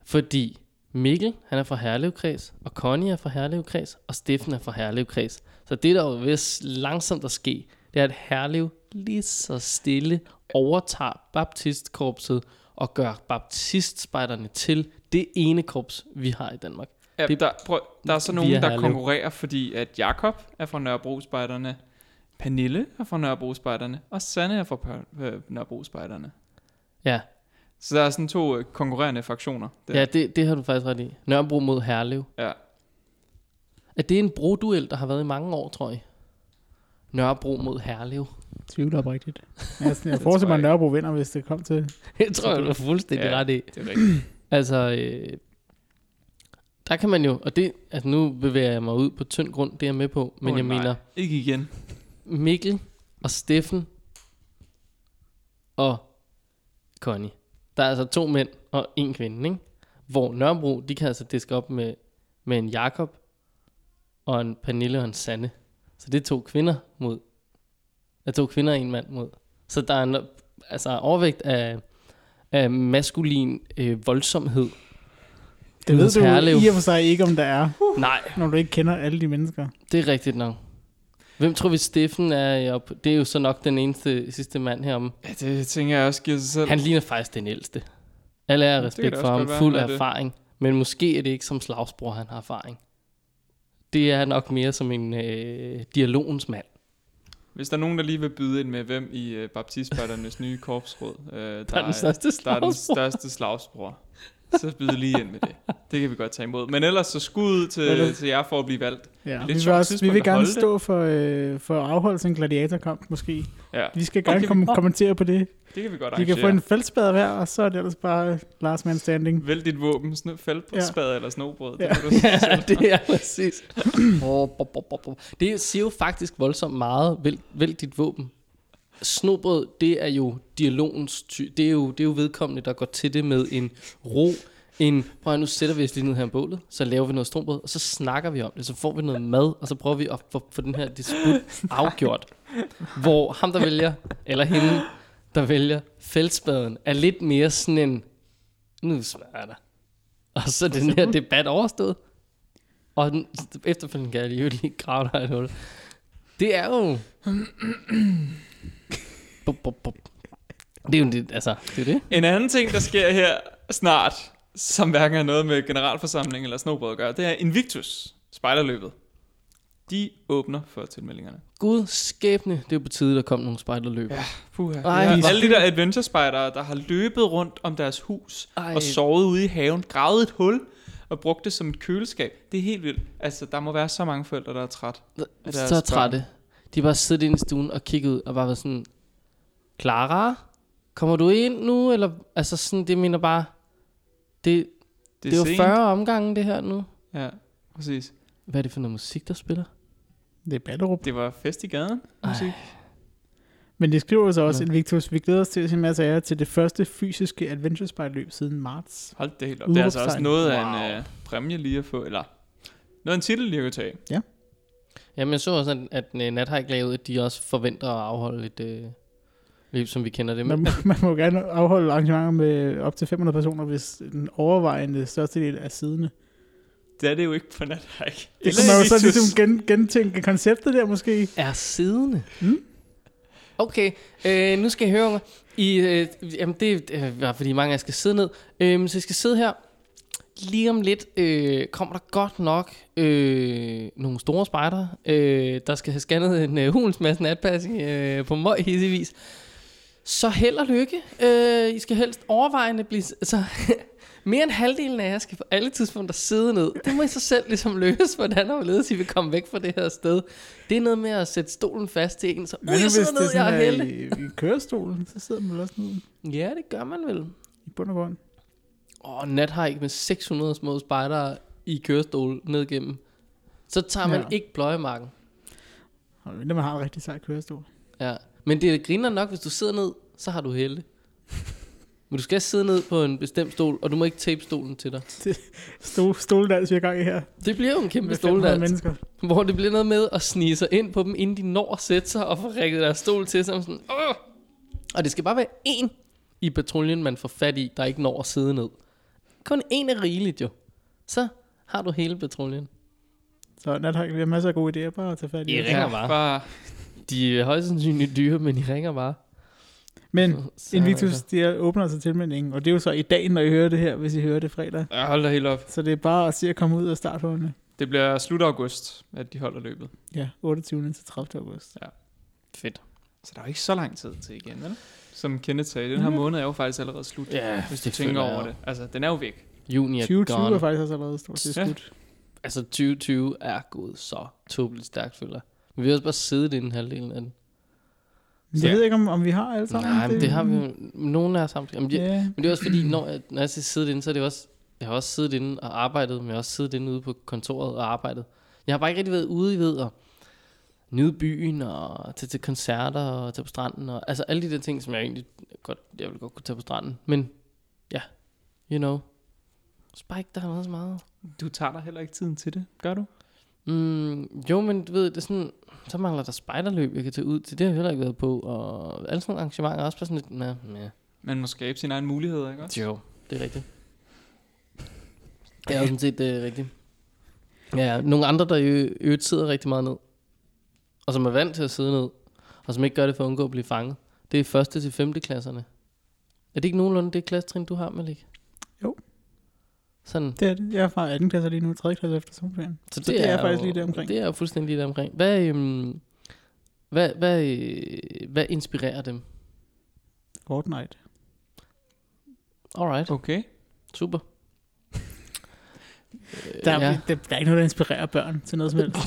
fordi Mikkel, han er fra Herlevkreds, og Connie er fra Herlevkreds, og Steffen er fra Herlevkreds. Så det, der jo vist langsomt at ske, det er, at Herlev lige så stille overtager baptistkorpset og gør baptistspejderne til det ene korps, vi har i Danmark.
Ja,
Det-
det, der, prøv, der er så
via
nogen, der
Herlev.
konkurrerer, fordi at Jakob er fra Nørrebro spejderne, Pernille er fra Nørrebro spejderne, og Sanne er fra Pør- øh, Nørrebro spejderne.
Ja,
Så der er sådan to øh, konkurrerende fraktioner. Der.
ja det, det har du faktisk ret i. Nørrebro mod Herlev.
Ja.
Er det en broduel, der har været i mange år, tror jeg? Nørrebro mod Herlev.
Tvivler oprigtigt. Jeg, jeg
tror jeg
forestiller mig, at
ikke.
Nørrebro vinder, hvis det kom til.
Det tror jeg, du er fuldstændig
Ja.
ret i.
Det er rigtigt.
Altså, øh, der kan man jo, og det, altså nu bevæger jeg mig ud på tynd grund, det er jeg med på, men
Åh,
oh, jeg
nej.
mener,
Ikke igen.
Mikkel og Steffen og Connie. Der er altså to mænd og en kvinde, ikke? Hvor Nørrebro, de kan altså diske op med, med en Jakob og en Pernille og en Sanne. Så det er to kvinder mod... Er to kvinder og en mand mod. Så der er en altså, overvægt af, af maskulin øh, voldsomhed.
Det
Ude
ved
hos
du
Herlev.
jo i og for sig ikke, om der er,
Uh.
Nej,
når du ikke kender alle de mennesker.
Det er rigtigt nok. Hvem tror vi Steffen er? i op- Det er jo så nok den eneste sidste mand herom.
Ja, det tænker jeg også giver sig selv.
Han ligner faktisk den ældste. Alle er
kan det
respekt
også
for ham,
godt være,
fuld
han
af
er det.
erfaring. Men måske er det ikke som slagsbror, han har erfaring. Det er nok mere som en øh, dialogens mand.
Hvis der er nogen, der lige vil byde ind med, hvem i øh, baptistbørnernes nye korpsråd, øh, der,
Der er den største
der er den
slagsbror.
største slagsbror, så byd lige ind med det. Det kan vi godt tage imod. Men ellers så skud ud til,
Ellers-
til jer for at blive valgt.
Ja,
Lidt
vi, vil
sjovt
også, vi
tidspunkt
vil
at
gerne
holde det.
stå for, øh, for afholdelse af en gladiatorkamp, måske.
Ja,
Vi skal gerne
Okay,
okay,
vi-
kom- kommentere på det.
det kan vi godt
Vi
arrangere.
kan få en feltspader hver, og så er det ellers bare last man standing.
Vælg dit våben, sådan faldspad ja. eller snobrød.
Ja.
Det kan du selv
ja,
selv.
det er præcis. Oh, bo, bo, bo, bo. Det siger jo faktisk voldsomt meget. Vælg, vælg dit våben. Snobrød, det er jo dialogens ty. Det er jo, det er jo vedkommende, der går til det med en ro. En, prøv at høre, nu sætter vi os lige ned her i bålet, så laver vi noget snobrød, og så snakker vi om det, så får vi noget mad, og så prøver vi at få, få den her disput afgjort. Hvor ham, der vælger, eller hende, der vælger feltspaden, er lidt mere sådan en, nu smager der. Og så er den her debat overstået. Og den, efterfølgende kan jeg jo lige grave dig et hul. Det er jo... bup, bup, bup. Det er jo det, altså, det er det.
En anden ting, der sker her snart, som hverken har noget med generalforsamling eller snobrød at gøre, det er Invictus, spejderløbet. De åbner for tilmeldingerne.
Gud skæbne, det er jo på tide, der kom nogle spejderløb.
Ja. Puha.
Ej,
Ej,
hvor-
alle de der adventure-spejdere, der har løbet rundt om deres hus
Ej.
Ej. og sovet ude i haven, gravet et hul og brugt det som et køleskab. Det er helt vildt. Altså, der må være så mange forældre, der er træt.
Ja,
af deres
så
børn.
trætte. De har bare siddet inde i stuen og kigget ud og bare været sådan, Clara, kommer du ind nu? Eller, altså sådan, det minder bare, det, det, det
er
er jo
sent.
40 omgange det her nu.
Ja, præcis.
Hvad er det for noget musik, der spiller?
Det er Ballerup.
Det var fest i gaden.
Ej.
Musik.
Men det skriver så også,
Ja.
at Victus, vi glæder os til at se en masse af jer til det første fysiske adventure løb siden marts.
Hold det helt op. Det er altså også
Udråbstegn.
noget af
Wow.
en øh, præmie lige at få, eller noget af en titel lige at tage.
Jamen, jeg så også, at, at øh, Nathike lavede, at de også forventer at afholde et øh, løb, som vi kender det.
Man,
Men,
må- man må gerne afholde arrangementer med op til 500 personer, hvis den overvejende største del af sidene.
Det er det jo ikke på nathike.
Det kunne man jo så ligesom gen, gentænke konceptet der måske.
er siddende.
Mm.
Okay, øh, nu skal jeg høre, unger. I, øh, jamen, det øh, var, fordi mange af jer skal sidde ned. Øh, så I skal sidde her. Lige om lidt øh, kommer der godt nok øh, nogle store spejder, øh, der skal have scannet en øh, hulens masse natpassing øh, på møg hissevis. Så held og lykke. Øh, I skal helst overvejende blive... Så, mere end halvdelen af jer skal på alle tidspunkter sidde ned. Det må I så selv ligesom løse, hvordan og hvorledes I vil komme væk fra det her sted. Det er noget med at sætte stolen fast til en, så uh,
nu,
jeg sidder ned, jeg er heldig.
i, i kørestolen, så sidder man vel også ned
Ja, det gør man vel.
i bund og grund.
Åh, nathike med 600 små spejdere i kørestol ned gennem. Så tager man
Ja.
ja. ikke pløjemarken.
Og når man har en rigtig sej kørestol.
Ja. Men det griner nok, hvis du sidder ned, så har du helde. Men du skal sidde ned på en bestemt stol, og du må ikke tape stolen til dig.
Stol, stoledans, vi er i gang i her.
Det bliver jo en kæmpe
Med 500
stoldans,
mennesker.
hvor det bliver noget med at snige sig ind på dem, inden de når at sætte sig og få rækket deres stol til, som sådan, Åh! Og det skal bare være én i patruljen, man får fat i, der ikke når at sidde ned. Kun én er rigeligt jo. Så har du hele patruljen.
Så Nathak, vi har masser af gode idéer, bare at tage fat i.
I
det.
ringer bare.
Bare,
De er højst sandsynligt dyre, men I ringer bare.
Men
Så-
Invictus, de åbner altså tilmeldingen, og det er jo så i dag, når I hører det her, hvis I hører det fredag.
ja, hold da helt op.
Så det er bare at se at komme ud og starte hundene.
Det bliver slut august, at de holder løbet.
Ja, 28. til 30. august.
Fedt.
Så der er jo ikke så lang tid til igen, vel? Som Kenneth sagde, den her
Mhm.
måned er jo faktisk allerede slut.
Ja,
hvis du
det
tænker
føler
over
jeg
det. Altså, den er jo væk.
Juni er
2020 er
gone.
faktisk også allerede stort set
Ja.
slut.
Altså 2020 er gået så tåbeligt stærkt, føler jeg. Men vi har også bare siddet i den halvdelen af den.
Men
Ja.
Jeg ved ikke, om, om vi har alle sammen.
Nej, men det har vi jo. Nogle af os har Jamen, det,
Ja,
Men det er også fordi, når jeg, når jeg siger siddet inde, så er det jo også, jeg har også siddet inde og arbejdet, men jeg har også siddet inde ude på kontoret og arbejdet. Jeg har bare ikke rigtig været ude, I ved, og nyde byen og tage til koncerter og tage på stranden. Og, altså alle de der ting, som jeg egentlig godt, jeg ville godt kunne tage på stranden. Men ja, you know. Spike, der har været så meget.
Du tager dig heller ikke tiden til det, gør du?
Mm, jo, men du ved, det er sådan, så mangler der spejderløb, jeg kan tage ud til. Det har jeg heller ikke været på. Og alle sådan nogle arrangementer er også bare sådan lidt, med, med.
Man må skabe sine egne muligheder, ikke også?
Jo, det er rigtigt. Det er jo sådan set øh, rigtigt. Ja, ja, nogle andre, der i ø- øvrigt sidder rigtig meget ned, og som er vant til at sidde ned, og som ikke gør det for at undgå at blive fanget, det er første til femte klasserne. Er det ikke nogenlunde det klassetrin, du har, Malik?
Jo.
Sådan.
det er det. Jeg er fra 18. klasse lige nu, 3. klasse efter sommerferien.
Så det,
det er
jo-
faktisk lige deromkring.
Det er jo fuldstændig lige der omkring. Hvad, øhm, hvad, hvad, øh, hvad inspirerer dem?
Fortnite.
Alright,
Okay.
super. Øh,
Der, er, ja. der, der er ikke noget, der inspirerer børn til noget som helst.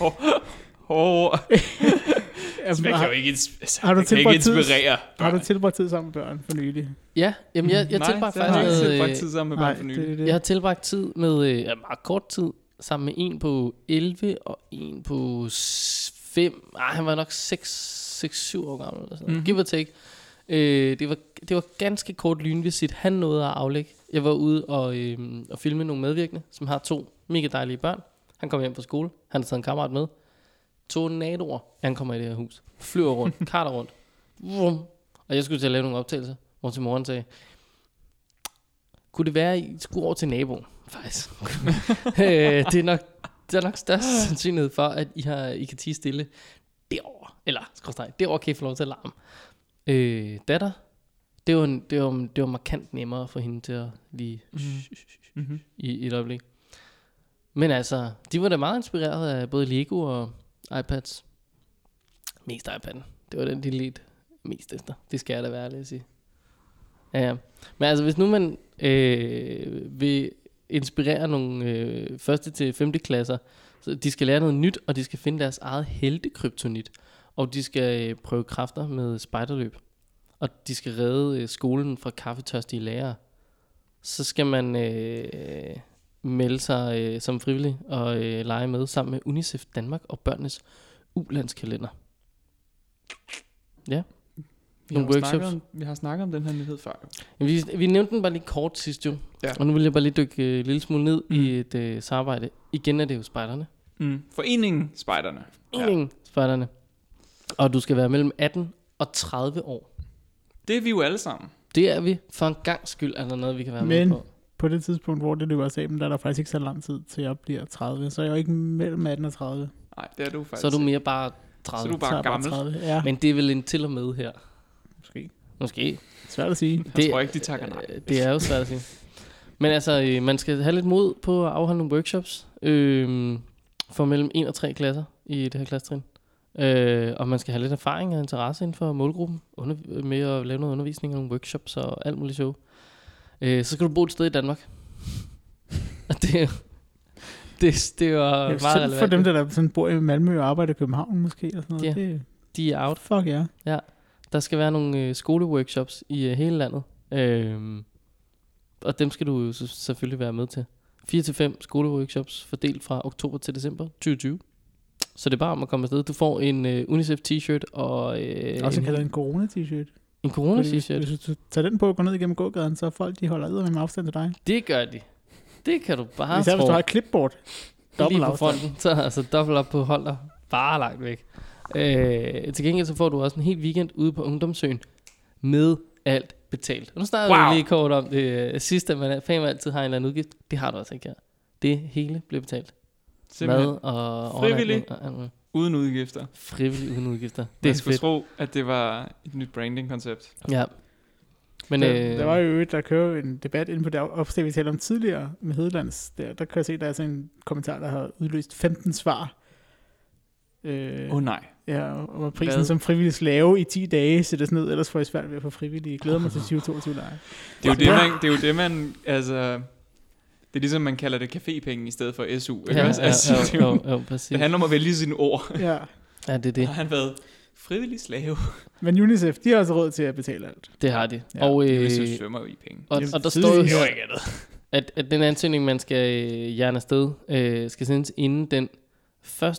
Åh, oh,
Jamen,
jeg kan jo
har,
ikke, ins- altså,
har du
jeg kan ikke
tilbragt tid-
inspirere.
har du tilbragt tid sammen med børn for nylig?
Ja, jamen jeg, jeg
Mm. Nej,
tilbragte
det har jeg
faktisk noget,
ikke tilbragt
øh,
tid sammen med
Nej,
børn for
det
nylig.
er det.
Jeg har tilbragt tid med øh, ja, meget kort tid sammen med en på 11 og en på 5. Nej, han var nok 6 6 7 år gammel eller sådan.
Mhm.
Mm-hmm. Give or take. Øh, det var det var ganske kort lynvisit han nåede at aflægge. Jeg var ude og, øh, og filme nogle medvirkende, som har to mega dejlige børn. Han kom hjem fra skole. Han har taget en kammerat med. Tornadoer ankommer i det her hus. Flyver rundt, karter rundt. Vum. Og jeg skulle til at lave nogle optagelser, hvor til morgen sagde, kunne det være, at I skulle over til naboen, faktisk? øh, det er nok, der er nok størst sandsynlighed for, at I, har, I kan tige stille derovre. Eller, skråstrej, derovre kan I få lov til at larme. Øh, datter, det var, en- det, var, det var markant nemmere for hende til at lige
Mhm.
i, i et øjeblik. Men altså, de var da meget inspireret af både Lego og iPads. Mest iPad'en. Det var den, de lidt mest efter. Det skal jeg da være ærlig at sige. Ja, ja. Men altså, hvis nu man øh, vil inspirere nogle øh, første til femte klasser, så de skal lære noget nyt, og de skal finde deres eget heltekryptonit. Og de skal øh, prøve kræfter med spejderløb. Og de skal redde øh, skolen fra kaffetørstige lærere. Så skal man øh, melde sig øh, som frivillig og øh, lege med sammen med UNICEF Danmark og børnenes ulandskalender.
Vi har
Nogle
jo snakket
workshops.
om- Vi har snakket om den her nyhed før. jo.
Jamen, Vi, vi nævnte den bare lige kort sidst jo.
Ja.
Og nu vil jeg bare lige dykke øh, en lille smule ned mm.
Mm.
i et øh, samarbejde. Igen er det jo spejderne.
Mm. Foreningen Spejderne. Ja.
Ja. Spejderne. Og du skal være mellem 18 og 30 år.
Det er vi jo alle sammen.
Det er vi. For en gang skyld er der noget, vi kan være
Men-
med på.
På det tidspunkt, hvor det løber af sablen, der er der faktisk ikke så lang tid, til jeg bliver 30. Så jeg er jo ikke mellem 18 og 30.
Nej, det er du faktisk.
Så er du
ikke.
mere bare 30.
Så er du
Så er
bare
jeg bare
gammel.
30. Ja,
Men det er vel en til og med her.
måske.
Måske.
Svært at sige.
Jeg tror ikke, de takker nej.
øh, Det er jo svært at sige. Men altså, øh, man skal have lidt mod øhm, på at afholde nogle workshops øh, for mellem 1 og 3 klasser i det her klassetrin. Øh, og man skal have lidt erfaring og interesse inden for målgruppen under, med at lave noget undervisning og nogle workshops og alt muligt sjov. Øh, så skal du bo et sted i Danmark. og det, er- det, det var
Ja,
meget
selv
relevant.
for dem, der, der sådan bor i Malmø og arbejder i København måske. Og sådan noget.
Ja.
Yeah. Det,
De er out.
fuck ja.
Der skal være nogle øh, skoleworkshops i øh, hele landet. Øhm, og dem skal du jo så, selvfølgelig være med til. 4-5 skoleworkshops fordelt fra oktober til december 2020. Så det er bare om at komme afsted. Du får en øh, UNICEF-t-shirt og øh,
Også
en,
kaldet en
en
corona-t-shirt. Fordi hvis-
corona-t-shirt.
Hvis du tager den på og går ned igennem gågaden, så er folk, de holder ud med afstand til dig.
Det gør de. Det kan du bare
Især hvis
tro.
du har et clipboard. Dobbelt
lige på
afstand.
fronten, så altså dobbelt op på hold dig bare langt væk. Øh, til gengæld så får du også en hel weekend ude på Ungdomsøen med alt betalt. Og nu snakker wow.
Wow.
vi lige kort om det øh, sidste, at man fam altid har en eller anden udgift. Det har du altså ikke her. Det hele bliver betalt.
Simpelthen
Mad og
Frivillig.
overnatning Og, alt muligt.
uden udgifter.
frivillig uden udgifter.
Det
Det
Man
er
skulle
fedt.
tro, at det var et nyt branding-koncept.
Ja. Men
der,
øh,
der var jo et, der kører jo en debat inde på det opslag, vi talte om tidligere med Hedelands. Der, der kan jeg se, der er sådan en kommentar, der har udløst 15 svar. Øh,
Åh oh, nej.
ja, om at prisen
Hvad?
Hvad? som frivillig slave i 10 dage sættes ned, ellers får jeg svært ved at få frivillige. Jeg glæder mig til 2022 leje.
Det er jo det, man, det, er jo det, man altså... Det er ligesom, man kalder det cafépenge i stedet for SU. Ikke
ja,
også? Altså, det, er
ja,
jo,
jo, jo, jo, præcis.
det handler om at vælge sine ord.
Ja.
Ja, det er
Det.
det.
Har han været frivillig slave?
Men UNICEF, de har også råd til at betale alt.
Det har de.
Ja,
og,
Øh,
øh,
det svømmer jo i penge.
og,
Jamen,
og der
tidligere-
står jo
Det var
ikke andet.
at, at den ansøgning, man skal øh, jerne afsted, øh, skal sendes inden den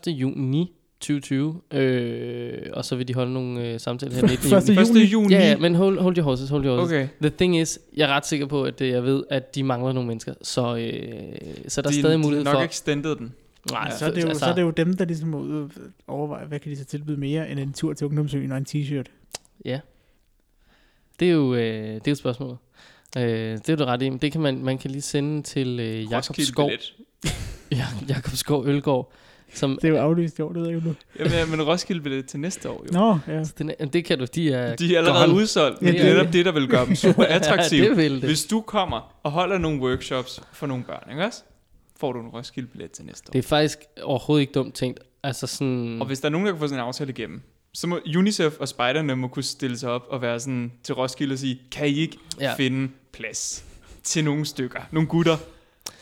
1. juni 2020, øh, og så vil de holde nogle øh, samtaler her den 19. juni.
1. juni.
1. juni.
Ja, ja, men hold, hold your horses, hold your horses. Okay.
Okay.
The thing is, jeg er ret sikker på, at øh, jeg ved, at de mangler nogle mennesker, så, øh, så der er
de,
stadig
de
mulighed
nok
for...
extended den.
Nej, altså,
Ja, så, er det jo, så er det jo dem, der ligesom må ud og overveje, hvad kan de så tilbyde mere end en tur til ungdomsøen og en t-shirt.
det er jo øh, det er jo spørgsmålet. Øh, det er du ret i. men Det kan man, man kan lige sende til øh, Jakob
Roskilde
Skov,
Billet.
ja, Jakob Skov Ølgaard, som
Det er jo aflyst i år, det ved jeg ikke nu.
Jamen, ja, men Roskilde Billet til næste år jo.
Nå, ja.
den er, Altså, det kan du, de er
De er allerede
gone.
udsolgt,
Ja,
men det
det
er
er
netop det, der vil gøre dem super attraktive.
ja, det vil det.
Hvis du kommer og holder nogle workshops for nogle børn, ikke også? Får du en Roskilde-billet til næste år.
Det er faktisk overhovedet ikke dumt tænkt. Altså sådan...
Og hvis der er nogen, der kan få sådan en aftale igennem, så må UNICEF og spejderne må kunne stille sig op og være sådan til Roskilde og sige, kan I ikke
Ja.
ja. finde plads til nogle stykker, nogle gutter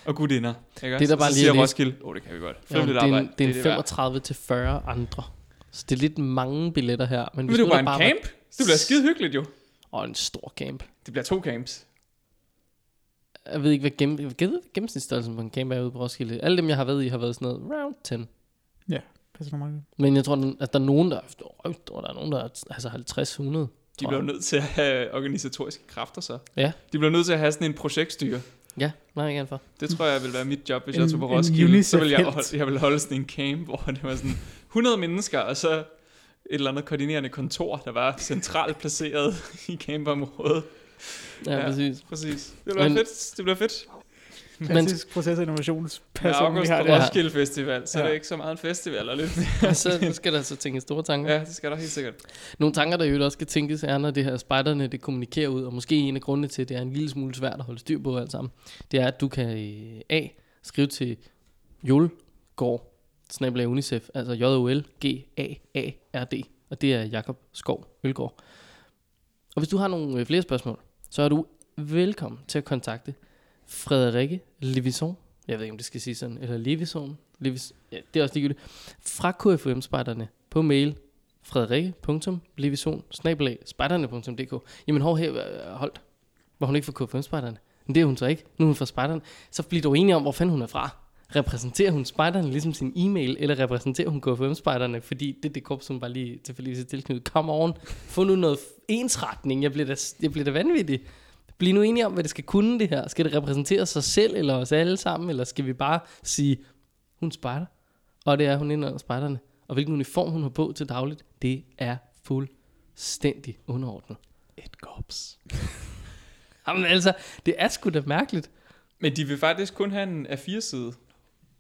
og gutinder? Ikke
der
også?
bare
så
lige
siger
at læse-
Roskilde, åh, oh, det kan vi godt.
ja, det
Frivilligt
er en,
arbejde.
det er en
det, værd."
35 til 40 andre. Så det er lidt mange billetter her. Men
Vil
hvis
du
nu
bare
der
en
var-
camp? Det bliver skide hyggeligt jo.
Åh, en stor camp.
Det bliver to camps.
Jeg ved ikke, hvad gennem, jeg ved, hvad gennemsnitsstørrelsen på en camp er ude på Roskilde. Alle dem, jeg har været i, har været sådan noget round 10.
Passer du meget godt.
Men jeg tror, den- at der er nogen, der, øh, der er, nogen, der er altså 50-100.
De bliver jo nødt til at have organisatoriske kræfter så.
Ja.
De bliver nødt til at have sådan en projektstyre.
Ja, meget gerne for.
Det tror jeg ville være mit job, hvis
En-
jeg tog på
en
Roskilde. Så ville jeg,
UNICEF-helt.
holde, jeg ville holde sådan en camp, hvor det var sådan 100 mennesker, og så et eller andet koordinerende kontor, der var centralt placeret i campområdet.
Ja, ja.
Ja.
præcis.
Præcis. Det bliver
Men-
fedt. Det bliver fedt.
Men-
Klassisk proces- og
Med
innovationsperson, vi
august
har
på
der.
Ja.
Roskilde Festival, så er det
Ja.
ikke så meget en festival. Og lidt.
så skal der så tænke store
Mm.
tanker.
Ja, det skal der helt sikkert.
Nogle tanker, der jo også skal tænkes, er, når det her spejderne, det kommunikerer ud, og måske en af grundene til, at det er en lille smule svært at holde styr på alt sammen, det er, at du kan øh, A, skrive til Jolgaard, snabel UNICEF, altså j o l g a a r d og det er Jakob Skov Ølgaard. Og hvis du har nogle øh, flere spørgsmål, så er du velkommen til at kontakte Frederikke Levison, jeg ved ikke, om det skal sige sådan, eller Levison, Levis, ja, det er også ligegyldigt, fra KFM-spejderne på mail frederikke.levison spejderne.dk Jamen hov, her, øh, holdt. Var hun ikke fra KFM spejderne? Men det er hun så ikke. Nu er hun fra spejderne. Så bliver du enige om, hvor fanden hun er fra. Repræsenterer hun spejderne ligesom sin e-mail, eller repræsenterer hun KFM spejderne? Fordi det er det korps, hun bare lige tilfældigvis er tilknyttet. Come on, få nu noget f- ensretning. Jeg bliver da, jeg bliver da vanvittig. Bliv nu enige om, hvad det skal kunne det her. Skal det repræsentere sig selv, eller os alle sammen, eller skal vi bare sige, hun spejder? Og det er hun inden under spejderne. Og hvilken uniform hun har på til dagligt, det er fuldstændig underordnet.
Et korps.
Jamen altså, det er sgu da mærkeligt.
Men de vil faktisk kun have en af fire side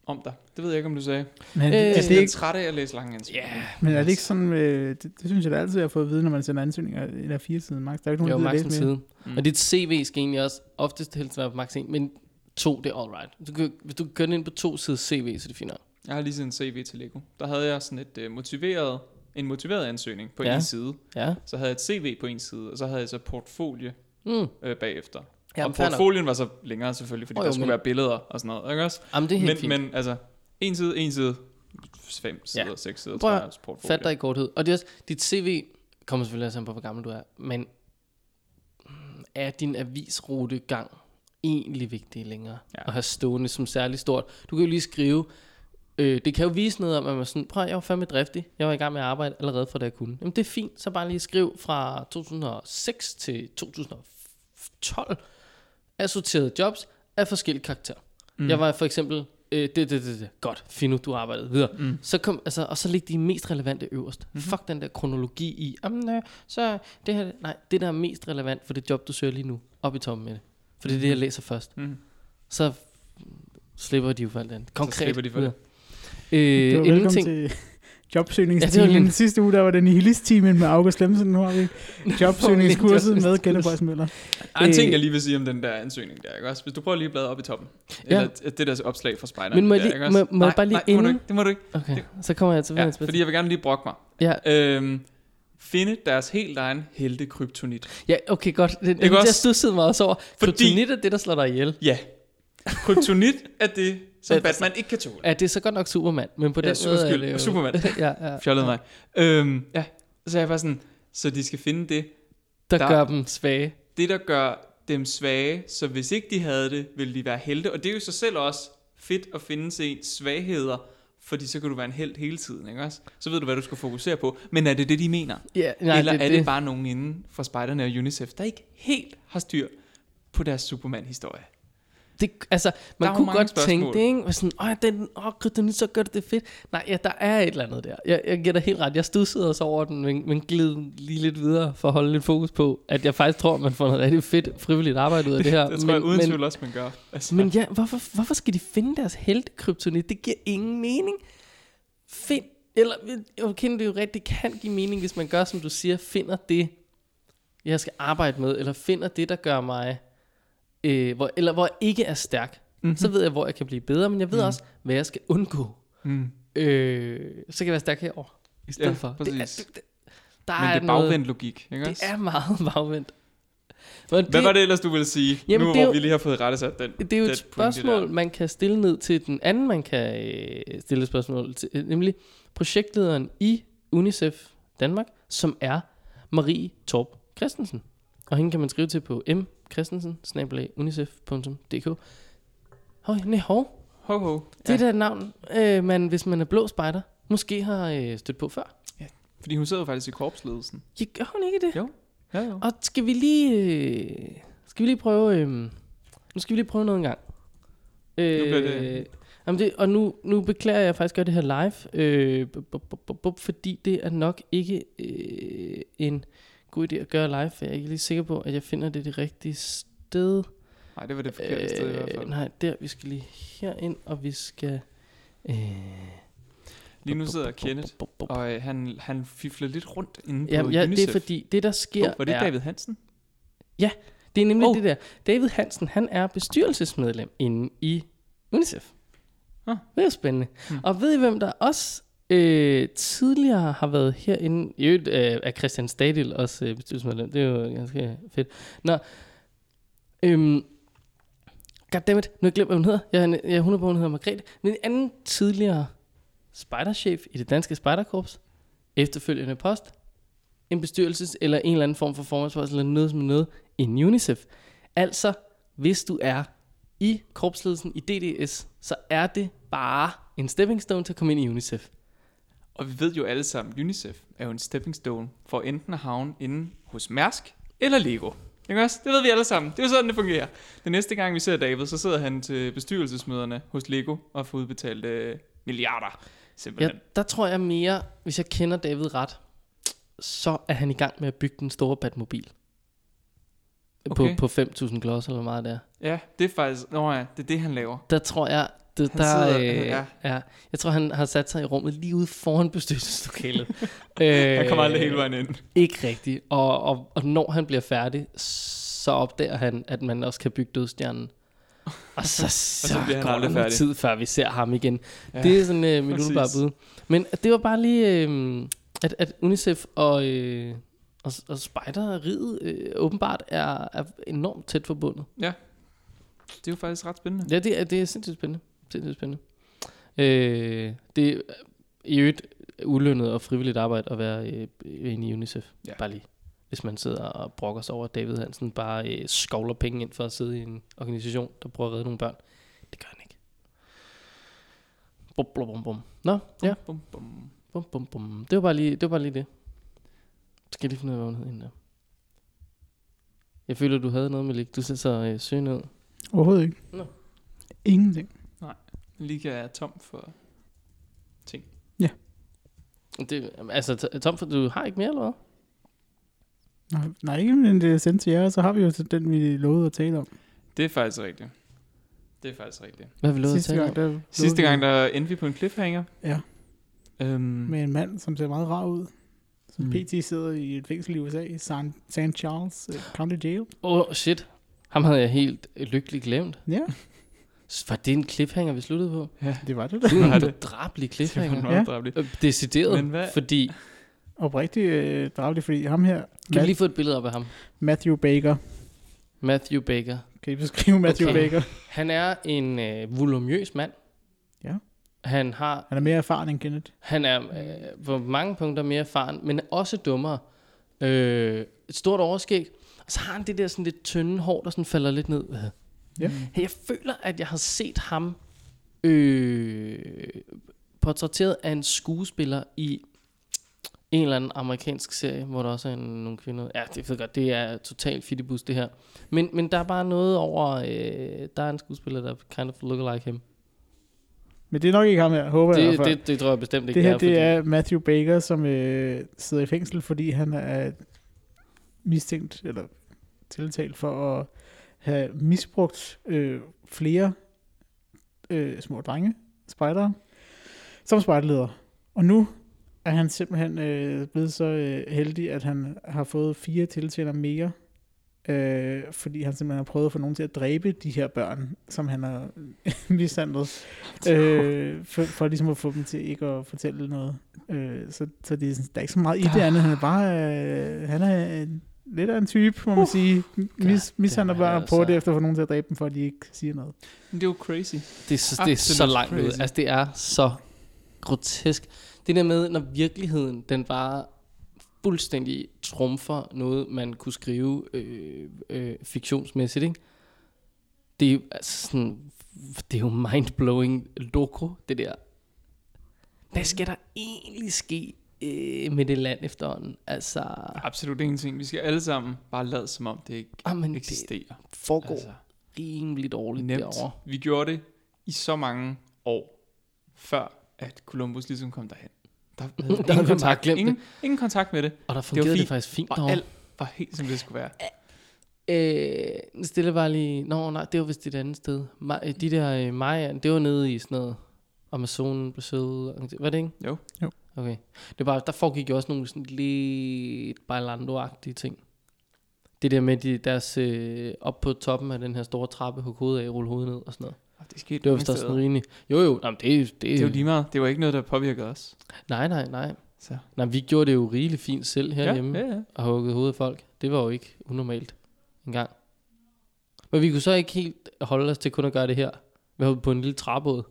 om dig. Det ved jeg ikke, om du sagde.
Men,
Øh,
er
Jeg
det
er sådan lidt
ikke,
træt af at læse lange ansøgninger.
men er det ikke sådan, øh, det, det, synes jeg da altid, jeg har fået at vide, når man sender ansøgninger, en af fire siden, Max. Der er ikke
Jo,
nogen, der
max
gider
en
læse mere.
side. Mm. Og dit CV skal egentlig også oftest helst være på max 1, men to, det er all right. Du kan, hvis du kan gøre det ind på to sider CV, så er det fint nok.
Jeg har lige sendt CV til Lego. Der havde jeg sådan et øh, motiveret en motiveret ansøgning på
Ja.
ja. en side.
Ja.
Så havde jeg et CV på en side, og så havde jeg så portfolio
Mm.
øh, bagefter.
Jamen,
og
fair nok.
portfolien var så længere selvfølgelig, fordi
Åh,
oh,
jo,
der skulle
men-
men... være billeder og sådan noget. Ikke også?
Jamen, det er helt
Men,
fint.
men altså, en side, en side, fem sider, ja. seks sider,
Prøv
tror
at-
jeg, hans portfolio.
Fat dig i korthed. Og det er også, dit CV kommer selvfølgelig også an på, hvor gammel du er, men mm, er din avisrutegang egentlig vigtig længere ja.
Ja.
at have stående som særlig stort? Du kan jo lige skrive, øh, det kan jo vise noget om, at man er sådan, prøv at- jeg var fandme driftig, jeg var i gang med at arbejde allerede fra da jeg kunne. Jamen det er fint, så bare lige skriv fra 2006 til 2012 assorterede jobs af forskellige karakterer. Mm. Jeg var for eksempel, øh, det, det, det, det, godt, Fino, du arbejdede videre.
Mm.
Så kom, altså, og så ligge de mest relevante øverst.
Mhm.
Mm-hmm. Fuck den der kronologi i, jamen, øh, så det her, nej, det der er mest relevant for det job, du søger lige nu, op i toppen med det. For det er det, jeg læser først.
Mm.
Så slipper de jo for alt andet. Konkret.
slipper de for det.
Øh,
Det var
inden
velkommen
ting-
til
Ja, det var
jobsøgningstimen. Ja,
lidt-
Sidste uge, der var det nihilist-timen med August Lemsen. Nu har vi jobsøgningskurset med Kjelle Bøjs Møller.
Ej, en ting,
Øh,
jeg lige vil sige om den der ansøgning der, ikke også? Hvis du prøver lige at bladre op i toppen.
Ja.
Ja. Eller det der opslag fra spejderen.
Men må jeg
der,
lige-
ikke også?
må- må jeg
nej,
bare lige
nej, det må du
inden-
ikke, det må du ikke.
Okay, så kommer jeg til
Ja,
ja,
fordi jeg vil gerne lige brokke mig.
ja,
Øhm, finde deres helt egen helte kryptonit.
ja, okay, godt. Det, det, jeg
også?
stussede mig også over. Fordi...
Fordi-
Kryptonit er det, der slår dig ihjel.
Ja. Kryptonit er det,
Ja,
som
det er
Batman ikke kan tåle.
Ja, det er så godt nok Superman, men på
Ja,
den
super
måde er
skyld.
det jo...
Superman.
ja, ja.
Fjollede mig. Øhm, ja, så er jeg bare sådan, så de skal finde det,
Der, der
Der-
gør dem svage.
det, der gør dem svage, så hvis ikke de havde det, ville de være helte. Og det er jo i sig selv også fedt at finde se svagheder, fordi så kan du være en held hele tiden, ikke også? Så ved du, hvad du skal fokusere på. Men er det det, de mener?
Ja,
Nej, Eller det, er det, det bare nogen inden for spejderne og UNICEF, der ikke helt har styr på deres Superman-historie?
det, altså, man
Der er jo
kunne
mange
godt
spørgsmål.
tænke det, ikke? Og sådan, åh, den, åh, kryptonit, så gør det det fedt. Nej, ja, der er et eller andet der. Jeg, jeg giver dig helt ret. Jeg studsede også over den, men, men gled lige lidt videre for at holde lidt fokus på, at jeg faktisk tror, man får noget rigtig fedt frivilligt arbejde ud af det her.
Det tror jeg uden
men,
tvivl også, man gør. Altså,
men, men ja, hvorfor, hvorfor skal de finde deres helt kryptonit? Det giver ingen mening. Find, eller, okay, det er jo rigtigt, det kan give mening, hvis man gør, som du siger, finder det, jeg skal arbejde med, eller finder det, der gør mig, øh, hvor, eller hvor jeg ikke er stærk.
Mhm.
Mm-hmm. Så ved jeg, hvor jeg kan blive bedre, men jeg ved mm. også, hvad jeg skal undgå.
mm,
Øh, så kan jeg være stærk herover i stedet
Ja,
for. Det er,
præcis.
det, det, der
men
er
det er
noget,
bagvendt logik, ikke
Det
også?
er meget bagvendt. Men
Hvad var det ellers, du ville sige,
Jamen,
nu
det er
hvor
jo-
vi lige har fået rettesat den?
Det er jo
den
et
pointe der?
spørgsmål, man kan stille ned til den anden, man kan øh, stille et spørgsmål til, øh, nemlig projektlederen i UNICEF Danmark, som er Marie Torp Christensen. Og hende kan man skrive til på mchristensen-unicef.dk. Hov, nej, hov.
Ho, ho.
Det er da et navn, øh, man, hvis man er blå spejder, måske har øh, stødt på før.
Fordi hun sidder jo faktisk i korpsledelsen.
Ja, gør hun ikke det?
Jo. Ja, jo.
Og skal vi lige, øh, skal vi lige prøve, øh, nu skal vi lige prøve noget en gang. Øh,
bliver det-
Jamen det, og nu, nu beklager jeg faktisk at gøre det her live, øh, bu- bu- bu- bu- bu- fordi det er nok ikke øh, en god idé at gøre live, for jeg er ikke lige sikker på, at jeg finder det det rigtige sted.
Nej, det var det forkerte øh, sted i hvert fald.
nej, der, vi skal lige herind, og vi skal... Øh,
Lige nu sidder Kenneth, og øh, han, han fifler lidt rundt inde på
Jamen, ja, det
UNICEF.
er fordi, det der sker
Oh, var det
er,
David Hansen?
Det er nemlig oh.
Oh.
det der. David Hansen, han er bestyrelsesmedlem inde i UNICEF.
Ah.
Det er spændende. Hmm.
Hmm.
Og ved I, hvem der også øh, tidligere har været herinde? I øvrigt øh, er Christian Stadil også øh, bestyrelsesmedlem. Det er jo ganske fedt. Nå, øhm, goddammit, nu har jeg glemt, hvad hun hedder. Jeg, er- jeg er 100 på, hun hedder Margrethe. Men en anden tidligere spejderchef i det danske spejderkorps, efterfølgende post, en bestyrelses- eller en eller anden form for formandspost eller noget som noget inden UNICEF. Altså, hvis du er i korpsledelsen i DDS, så er det bare en stepping stone til at komme ind i UNICEF.
Og vi ved jo alle sammen, UNICEF er jo en stepping stone for enten at havne inde hos Mærsk eller Lego. Ikke også? Det ved vi alle sammen. Det er jo sådan, det fungerer. Den næste gang, vi ser David, så sidder han til bestyrelsesmøderne hos Lego og får udbetalt øh, milliarder.
Ja,
Simpelthen.
der tror jeg mere, hvis jeg kender David ret, så er han i gang med at bygge den store Batmobil.
Okay.
På, på 5.000 klods eller hvor meget det er.
Ja, ja det er faktisk... Nå ja, det er det, han laver.
Der tror jeg, det,
Han
der,
sidder-
øh, ja.
ja.
ja. Jeg tror, han har sat sig i rummet lige ude foran bestyrelseslokalet.
Han kommer aldrig
Øh,
hele vejen ind.
Ikke rigtigt. Og, og, og når han bliver færdig, så opdager han, at man også kan bygge dødstjernen. Og så, så, så
bliver han
går der
aldrig
noget
færdig.
tid, før vi ser ham igen. Ja,
Ja,
det er sådan øh, min umiddelbare
præcis.
bud. Men det var bare lige øh, at, at UNICEF og, øh, og, og spejderriget øh, åbenbart er, er enormt tæt forbundet.
Det er jo faktisk ret spændende.
Ja, det er, det er sindssygt spændende. Sindssygt spændende. Øh, det er i øvrigt ulønnet og frivilligt arbejde at være øh, inde i UNICEF.
Ja.
Ja. Bare lige. Hvis man sidder og brokker sig over, at David Hansen bare øh, skovler penge ind for at sidde i en organisation, der prøver at redde nogle børn. Det gør han ikke. Bum, bum, bum, bum. Nå, ja.
Bum, bum.
Bum, bum, bum. Det var bare lige det. Var bare lige det. Skal jeg lige finde ud af, hvad hun hed hende der. Jeg føler, du havde noget med Du ser så øh, søgen ud.
Overhovedet ikke.
Nå.
Ingenting.
Liga er tom for...
Det, altså, t- Tom, for du har ikke mere, eller hvad?
Nej, nej, ikke men det er sendt til jer, så har vi jo så den, vi lovede at tale om.
Mm.
Det er faktisk rigtigt. Det er faktisk rigtigt.
Hvad har vi lovet at
Sidste
tale
gang,
om?
der lovede
Sidste gang,
vi
der endte vi på en cliffhanger.
Ja.
Øhm,
Med en mand, som ser meget rar ud. Som
Mm.
mm. PT sidder i et fængsel i USA, i San, San Charles øh, County Jail.
Åh, oh, shit. Ham havde jeg helt øh, lykkeligt glemt.
Ja,
S- Var det en cliffhanger, vi sluttede på?
det var det da.
Det
Var
er en
det?
dræbelig
det var
cliffhanger.
meget
Ja.
dræbeligt.
Øh, Decideret,
Men hvad-
fordi...
Oprigtigt øh, drabeligt, fordi ham her,
Kan vi
Mat-
lige få et billede op af ham?
Matthew Baker.
Matthew Baker.
Kan I beskrive Matthew
Okay.
okay. Baker?
Han er en øh, volumøs mand.
Ja.
Han har
Han er mere erfaren end Kenneth.
Han er øh, på mange punkter mere erfaren, men også dummere. Øh, et stort overskæg. Og så har han det der sådan lidt tynde hår, der sådan falder lidt ned.
Ja.
Hey, Jeg føler, at jeg har set ham øh, portrætteret af en skuespiller i en eller anden amerikansk serie, hvor der også er en, nogle kvinder. Ja, det ved jeg godt, det er totalt fittibus det her. Men, men der er bare noget over, øh, der er en skuespiller, der kind of look like him.
Men det er nok ikke ham her, håber jeg. i
Det,
hvert fald.
det, det tror jeg bestemt ikke
det her,
er, fordi-
det er Matthew Baker, som øh, sidder i fængsel, fordi han er mistænkt, eller tiltalt for at have misbrugt øh, flere øh, små drenge, spejdere, som spejderleder. Og nu er han simpelthen øh, blevet så øh, heldig, at han har fået fire tiltaler mere, øh, fordi han simpelthen har prøvet at få nogen til at dræbe de her børn, som han har mishandlet øh, for, for ligesom at få dem til ikke at fortælle noget. Øh, så, så det er, sådan- der er ikke så meget i det andet. Han er bare, øh, han er en- lidt af en type, må man uh, sige. Mis, mishandler
damn,
børn og
altså.
prøver derefter at få nogen til at dræbe dem, for at de ikke siger noget.
Men det er jo crazy.
Det er så, det er så
Absolut
langt ud.
crazy.
Altså, det er så grotesk. Det der med, når virkeligheden, den bare fuldstændig trumfer noget, man kunne skrive øh, øh, fiktionsmæssigt, ikke? Det er jo altså sådan, det er jo mindblowing loco, det der. Hvad skal der egentlig ske øh, med det land efterhånden? Altså,
Absolut ingenting. Vi skal alle sammen bare lade som om, det ikke
jamen, ah, det
eksisterer.
foregår altså, rimelig dårligt
nemt.
derovre.
Vi gjorde det i så mange år, før at Columbus ligesom kom derhen. Der havde vi
Der havde
ingen,
man bare
kontakt,
glemt
ingen, ingen kontakt med det,
Og der fungerede det,
fint.
faktisk fint
og
derovre.
alt var helt som det skulle være.
Øh, stille var lige... Nå, nej, det var vist et andet sted. Ma- øh, de der øh, Mayan, det var nede i sådan noget... Amazonen, Brazil... Var det ikke?
Jo.
Jo.
Okay. Det var, der foregik jo også nogle sådan lidt bailando-agtige ting. Det der med de, deres øh, op på toppen af den her store trappe, hugge hovedet af, rulle hovedet ned og sådan noget.
Og det skete
Det var
mange
vist også
steder.
sådan rimelig... Jo, jo, jamen, det, det,
Det er jo lige meget. Det var ikke noget, der påvirkede os.
Nej, nej, nej.
Så.
Nej, vi gjorde det jo rigeligt fint selv herhjemme.
ja, ja.
og hugget hovedet af folk. Det var jo ikke unormalt engang. Men vi kunne så ikke helt holde os til kun at gøre det her. Vi var på en lille træbåd.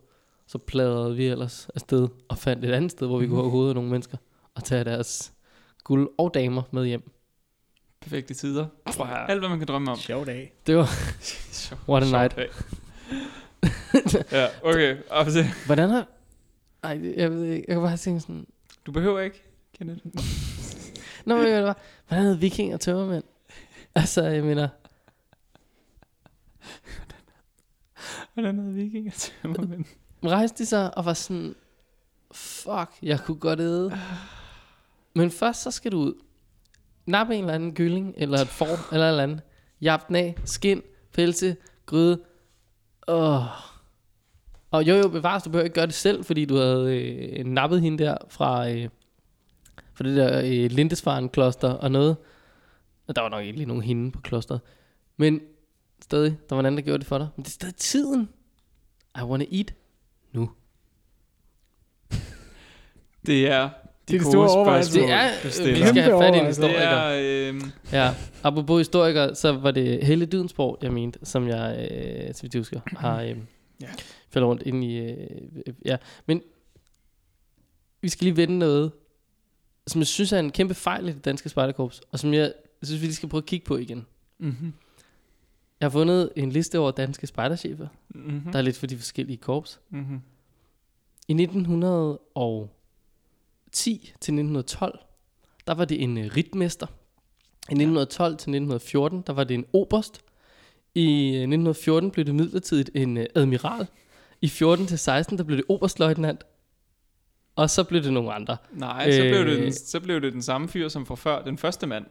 Så pladrede vi ellers afsted og fandt et andet sted, hvor vi kunne hugge hovedet af nogle mennesker og tage deres guld og damer med hjem.
Perfekte tider.
Prøv at høre.
Alt, hvad man kan drømme om.
Sjov dag.
Det var,
Sjov-
What a
sjov
night.
dag. ja, okay. Og så-
hvordan har... Ej, det- jeg ved ikke, jeg kan bare tænke sådan...
Du behøver ikke, Kenneth.
Nå, men jeg bare, hvordan havde vikinger tømmermænd? Altså, jeg mener,
Hvordan havde vikinger tømmermænd?
rejste de sig og var sådan, fuck, jeg kunne godt æde. Men først så skal du ud, nappe en eller anden gylling, eller et får, eller et eller andet. Jap den af, skin, pelse, gryde. Oh. Og jo jo, bevares, du behøver ikke gøre det selv, fordi du havde øh, nappet hende der fra, øh, fra det der øh, Lindesfaren kloster og noget. Og der var nok ikke lige nogen hende på klosteret. Men stadig, der var en anden, der gjorde det for dig. Men det er stadig tiden. I wanna eat.
Det er
Det er de store
gode
overvejelser.
spørgsmål,
Altså, Det er- øh,
du
vi
stiller.
skal have fat i en
Kæmpe
Det
historiker.
er, øh,
Ja, apropos historikere, så var det Helle Dydensborg, jeg mente, som jeg, øh, så vidt jeg husker, har øh,
Ja.
ja. faldet rundt ind i. Øh, øh, ja, men vi skal lige vende noget, som jeg synes er en kæmpe fejl i det danske spejderkorps, og som jeg synes, vi lige skal prøve at kigge på igen.
mm-hmm.
Jeg har fundet en liste over danske spejderchefer, mm.
Mm-hmm.
der er lidt for de forskellige korps.
Mm-hmm.
I 1910 til 1912, der var det en øh, ritmester. I 1912 til 1914, der var det en oberst. I øh, 1914 blev det midlertidigt en øh, admiral. I 14 til 16, der blev det oberstløjtnant. Og så blev det nogle andre.
Nej, så blev, det
Øh.
den, så blev det den samme fyr som fra før, den første mand.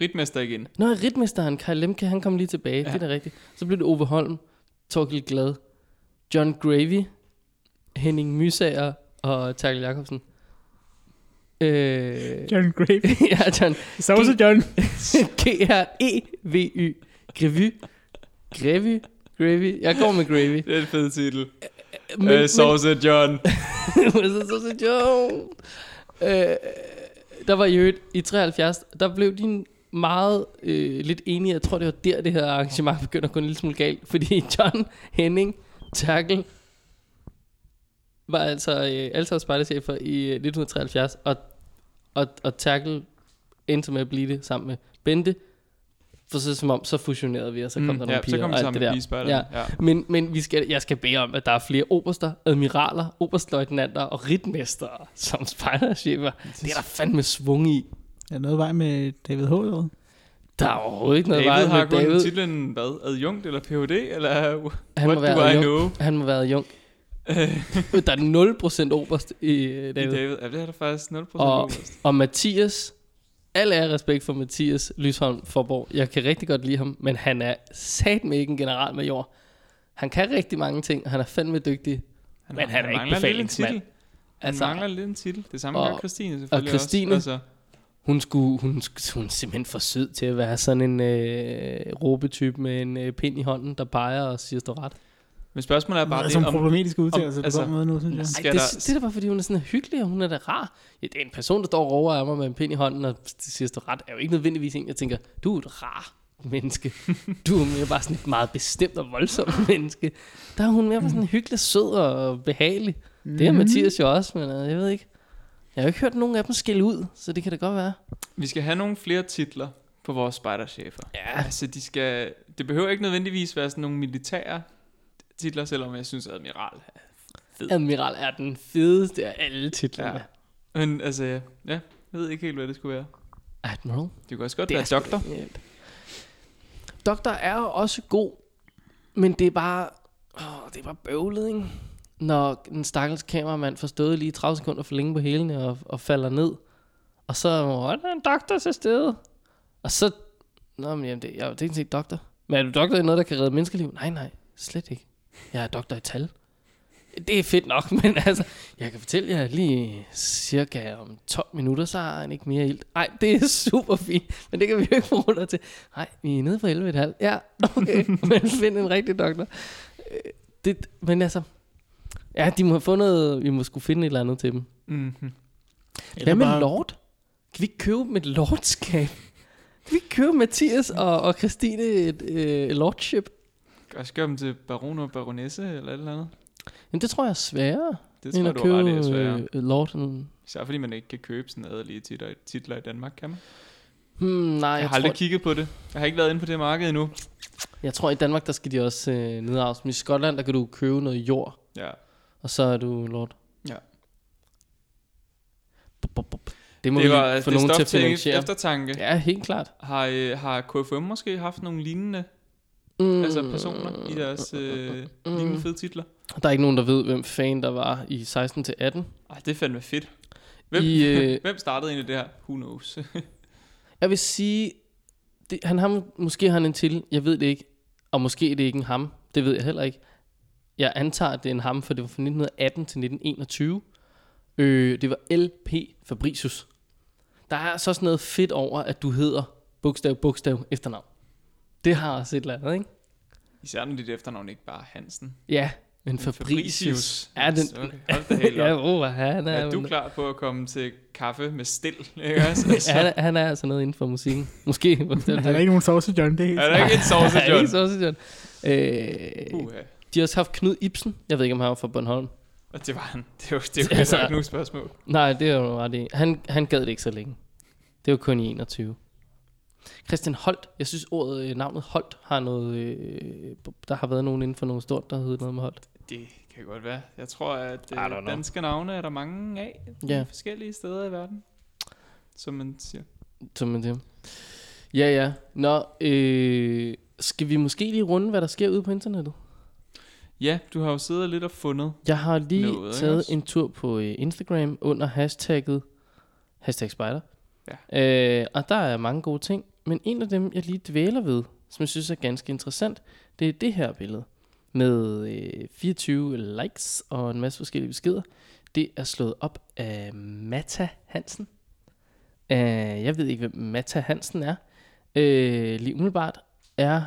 Ritmester igen.
Nå, ritmesteren Karl Lemke, han kom lige tilbage. Ja.
Ja.
Det er da rigtigt. Så blev det Ove Holm, Torgild Glad, John Gravy, Henning Mysager og Terkel Jacobsen. Øh,
John Gravy.
ja, John. E
Så også John.
G-R-E-V-Y. Grevy. Grevy. Gravy. Jeg går med gravy.
Det er et fedt titel.
Men,
øh, Sauce John.
så, så, så, jo. Øh, der var i øvrigt i 73, der blev din meget øh, lidt enige. Jeg tror, det var der, det her arrangement begynder at gå en lille smule galt. Fordi John Henning Terkel var altså øh, altså spejderchefer i øh, 1973, og, og, og Terkel endte med at blive det sammen med Bente. For så som om, så fusionerede vi, og så kom mm, der nogle
ja,
piger
så kom
og alt
vi
det
sammen
der.
med pigespejder.
Ja. Men, men vi skal, jeg skal bede om, at der er flere oberster, admiraler, oberstløjtnanter og ritmestere som spejderchefer. Det er der fandme svung i.
Er der noget vej med David H. eller hvad?
Der er overhovedet ikke noget
David
vej
har
med
kun
David.
titlen, hvad? Adjunkt eller Ph.D. eller
Han må,
what do
være
I
adjunkt.
know?
Han må være adjunkt.
Øh,
Der er 0% oberst i øh,
I
David.
David. Ja, det er der faktisk 0%
Og-
og...
Og Mathias, al ære og respekt for Mathias Lysholm Forborg. Jeg kan rigtig godt lide ham, men han er satme ikke en generalmajor. Han kan rigtig mange ting, og han er fandme dygtig.
Han,
Men han er ikke
mangler lidt en
befalingsmand.
titel. Han
Altså-
altså, mangler lidt en titel. Det samme
Og-
gør Christine selvfølgelig
Christine-
også. Altså,
Hun, skulle, hun, sk- hun er simpelthen for sød til at være sådan en øh, råbetype med en øh, pind i hånden, der peger og siger, står ret.
men spørgsmålet er bare
Bare
det,
som
om...
problematisk udtalelse,
om-
på
altså-
den måde nu, synes jeg.
Ej,
Skal
det,
der-
det, er da bare, fordi hun er sådan hyggelig, og hun er da rar. Ja, det er en person, der står og råber af mig med en pind i hånden og siger, står ret, er jo ikke nødvendigvis en, jeg tænker, du er et rar menneske. Du er mere bare sådan et meget bestemt og voldsomt menneske. Der er hun mere bare sådan hyggelig, sød og behagelig. Mm-hmm. Det er
Mhm.
Mathias jo også, men øh, jeg ved ikke. Jeg har jo ikke hørt nogen af dem skille ud, så det kan da godt være.
Vi skal have nogle flere titler på vores spejderchefer.
Ja.
Altså, de skal... Det behøver ikke nødvendigvis være sådan nogle militære titler, selvom jeg synes, admiral er fed.
Admiral er den fedeste af alle titlerne.
Ja. Men altså, ja, jeg ved ikke helt, hvad det skulle være.
Admiral.
Det kunne også godt
Det
det
er
være doktor.
Doktor er jo også god, men det er bare, åh, det er bare bøvlet, ikke? Når en stakkels kameramand får stået lige 30 sekunder for længe på hælene og, og falder ned, og så "Åh, er der en doktor til stede. Og så, nå, men jamen, det, jeg er jo teknisk set doktor. Men er du doktor i noget, der kan redde menneskeliv? Nej, nej, slet ikke. Jeg er doktor i tal. Det er fedt nok, men altså, jeg kan fortælle jer lige cirka om 12 minutter, så har han ikke mere ild. Nej, det er super fint, men det kan vi jo ikke bruge dig til. Nej, vi er nede på 11,5. Ja, okay, men find en rigtig doktor. Øh, Det, men altså, ja, de må have fundet, vi må skulle finde et eller andet til dem.
Mm-hmm.
Hvad
Eller
med
bare-
Lord? Kan vi ikke købe med et lordskab? Kan vi ikke købe Mathias og, og Christine et øh, lordship?
Også gøre dem til baron og baronesse eller et eller andet.
Men det tror jeg er sværere,
Det
end
tror
at
jeg, du har ret i, er
købe
sværere.
øh, lorden.
Især fordi man ikke kan købe sådan adelige titler, titler i Danmark, kan man?
Hmm, nej,
Jeg,
jeg,
jeg har
tror,
aldrig kigget på det. Jeg har ikke været inde på det marked endnu.
Jeg tror, i Danmark, der skal de også øh, nedarves. Men i Skotland, der kan du købe noget jord,
Ja.
og så er du lord.
Ja.
Bup, bup, bup. Det må det
det
var,
var
vi få
det
nogen
stof
til at finansiere.
eftertanke. Ja.
Ja, helt klart.
Har, øh, har KFM måske haft nogle lignende
Mm.
mm. altså personer i deres øh,
Mm.
lignende fede titler?
Der er ikke nogen, der ved, hvem fan der var i 16-18.
Ej, det er fandme fedt. Hvem,
I,
I,
øh,
øh... hvem startede egentlig det her? Who knows?
Jeg vil sige, det, han har, må- måske har han en til, jeg ved det ikke. Og måske er det ikke en ham, det ved jeg heller ikke. Jeg antager, at det er en ham, for det var fra 1918 til 1921. Øh, det var LP Fabricius. Der er så sådan noget fedt over, at du hedder bogstav, bogstav, efternavn. Det har også et eller andet, ikke?
Især når dit efternavn ikke bare er Hansen.
Ja, En Fabricius. Ja,
Ja,
den-
den... Okay, hold da helt op.
ja, oh, han er,
er du klar på at komme til kaffe med stil, ikke også? Altså,
ja, han, er, han er altså noget inden for musikken. Måske. hvor det-
Han er ikke nogen sauce, John, det er helt
er der ikke en sausage,
Ja, ikke
John?
sausage John. Øh,
Uha.
de har også haft Knud Ibsen. Jeg ved ikke, om han var fra Bornholm.
Og det var han. Det var, det var
Altså-
altså, ikke nogen spørgsmål.
Nej, det er jo ret i. Han, han gad det ikke så længe. Det var kun i 21. Christian Holt. Jeg synes ordet, øh, navnet Holt har noget... Øh, der har været nogen inden for noget stort, der hedder noget med Holt.
Det kan godt være. Jeg tror, at
I don't know.
øh, danske navne er der mange af
Ja.
ja. forskellige steder i verden. Som man siger.
Som man siger. Ja, ja. Nå, øh, skal vi måske lige runde, hvad der sker ude på internettet?
Ja, du har jo siddet lidt og fundet.
Jeg har lige
Noget, ikke
taget
også?
en tur på øh, Instagram under hashtagget hashtag spider. Ja. Øh, og der er mange gode ting, men en af dem, jeg lige dvæler ved, som jeg synes er ganske interessant, det er det her billede med øh, 24 likes og en masse forskellige beskeder. Det er slået op af Mata Hansen. Øh, jeg ved ikke, hvem Mata Hansen er. Øh, lige umiddelbart er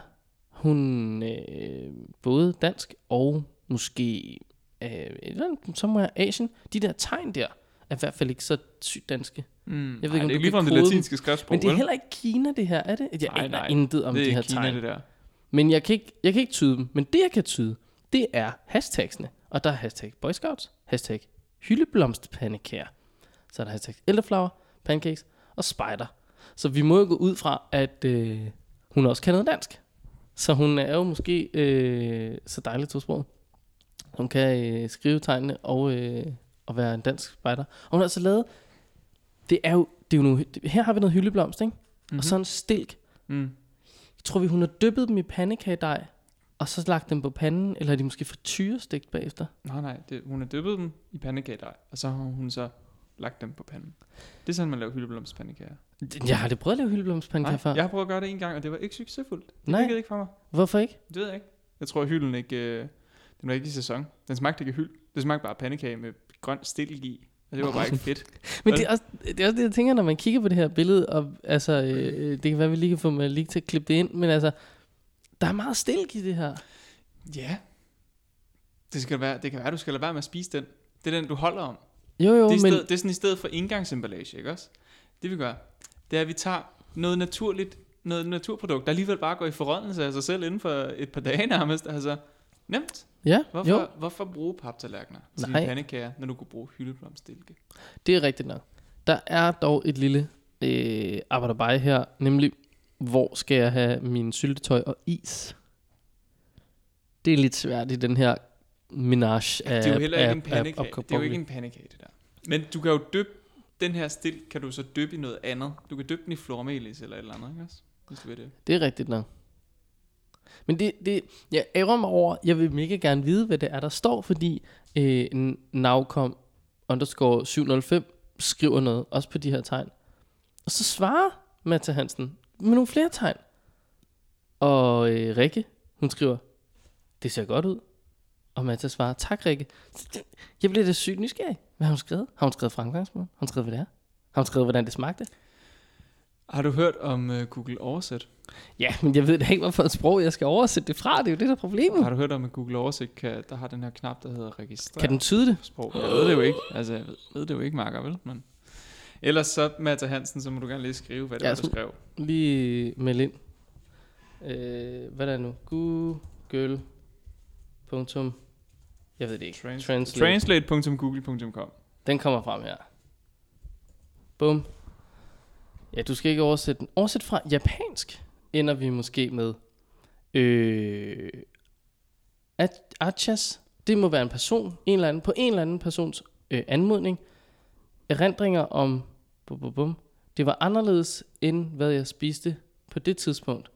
hun øh, både dansk og måske øh, et eller andet, somewhere Asien. De der tegn der er i hvert fald ikke så sygt danske.
Mm,
ikke, om
det
du
er
kan
ligefrem det
kode dem.
latinske skriftsprog,
Men det er
vel?
heller ikke Kina, det her, er det? Jeg
Nej,
aner
nej.
intet om
det er
de her
ikke Kina,
tegn.
det der.
Men jeg kan, ikke, jeg kan ikke tyde dem. Men det, jeg kan tyde, det er hashtagsene. Og der er hashtag Boy Scouts, hashtag hyldeblomstpandekager. Så er der hashtag elderflower, pancakes og spider. Så vi må jo gå ud fra, at øh, hun også kan noget dansk. Så hun er jo måske øh, så dejlig til sprog. Hun kan øh, skrive tegnene og, øh, og være en dansk spider. Og hun har altså lavet... Det er jo, det er jo nogle, her har vi noget hyldeblomst, ikke? Mm-hmm.
Mhm.
Og så en stilk.
Mm.
Tror vi, hun har dyppet dem i pandekagedej, og så lagt dem på panden, eller er de måske frityrestigt bagefter?
Nej, nej, det, hun har dyppet dem i pandekagedej, og så har hun så lagt dem på panden. Det er sådan, man laver hyldeblomstpandekager.
Jeg har aldrig prøvet at lave hyldeblomstpandekager før.
jeg har prøvet at gøre det en gang, og det var ikke succesfuldt. Det
Nej.
virkede ikke for mig.
Hvorfor ikke?
Det ved jeg ikke. Jeg tror, at hylden ikke... Øh, den var ikke i sæson. Den smagte ikke af hyld. Det smagte bare af pandekage med grøn stilk i. Og det var bare ikke fedt.
Men det er, også, det er også det, jeg tænker, når man kigger på det her billede, og altså, øh, øh, det kan være, vi lige kan få mig lige til at klippe det ind, men altså, der er meget stilk i det her.
Ja. Det, skal være, det kan være, at du skal lade være med at spise den. Det er den, du holder om.
Jo, jo,
det, er
men...
i stedet, det er sådan i stedet for indgangsemballage, ikke også? Det vi gør, det er, at vi tager noget naturligt, noget naturprodukt, der alligevel bare går i forrådnelse af sig selv inden for et par dage nærmest. Altså, nemt.
Ja,
Hvorfor,
jo,
hvorfor bruge paptallerkener til
Nej.
dine pandekager, når du kunne bruge hyldeblomstilke?
det er rigtigt nok. Der er dog et lille øh, arbejderbej her, nemlig, hvor skal jeg have min syltetøj og is? Det er lidt svært i den her menage af
Altså, Det er jo heller ikke
af-
en pandekage.
af-
Det er jo ikke en pandekage, det der. Men du kan jo dyppe den her stil, kan du så dyppe i noget andet. Du kan dyppe den i flormelis eller et eller andet, ikke også? Hvis du vil det.
Det er rigtigt nok. Men det, det, jeg ærger mig over, jeg vil mega gerne vide, hvad det er, der står, fordi øh, n- Navcom underscore 705 skriver noget, også på de her tegn. Og så svarer Matta Hansen med nogle flere tegn. Og øh, Rikke, hun skriver, det ser godt ud. Og Matta svarer, tak Rikke. Så det- Jeg bliver da sygt nysgerrig. Hvad har hun skrevet? Har hun skrevet fremgangsmål? Har hun skrevet, hvad det er? Har hun skrevet, hvordan det smagte?
Har du hørt om øh, Google Oversæt?
Ja, men jeg ved da ikke, hvorfor sprog jeg skal oversætte det fra. Det er jo det, der er problemet.
Har du hørt om, at Google Oversæt, kan, der har den her knap, der hedder registrer?
Kan den tyde det?
sprog? Jeg ved det jo ikke. Altså, jeg ved, ved det jo ikke, Marker, vel? Men... Ellers så, Matta Hansen, så må du gerne lige skrive, hvad det
Ja,
ja, var,
så-
du skrev.
Lige meld ind. Øh, hvad der er nu? Google. Punktum. Jeg ved det ikke.
Trans-
Translate.
Translate.google.com
Den kommer frem her. Bum. Ja, du skal ikke oversætte den. Oversæt fra japansk ender vi måske med. Øh, At- Achas, det må være en person, en eller anden, på en eller anden persons øh, anmodning. Erindringer om, bum, bum, bum. det var anderledes end hvad jeg spiste på det tidspunkt.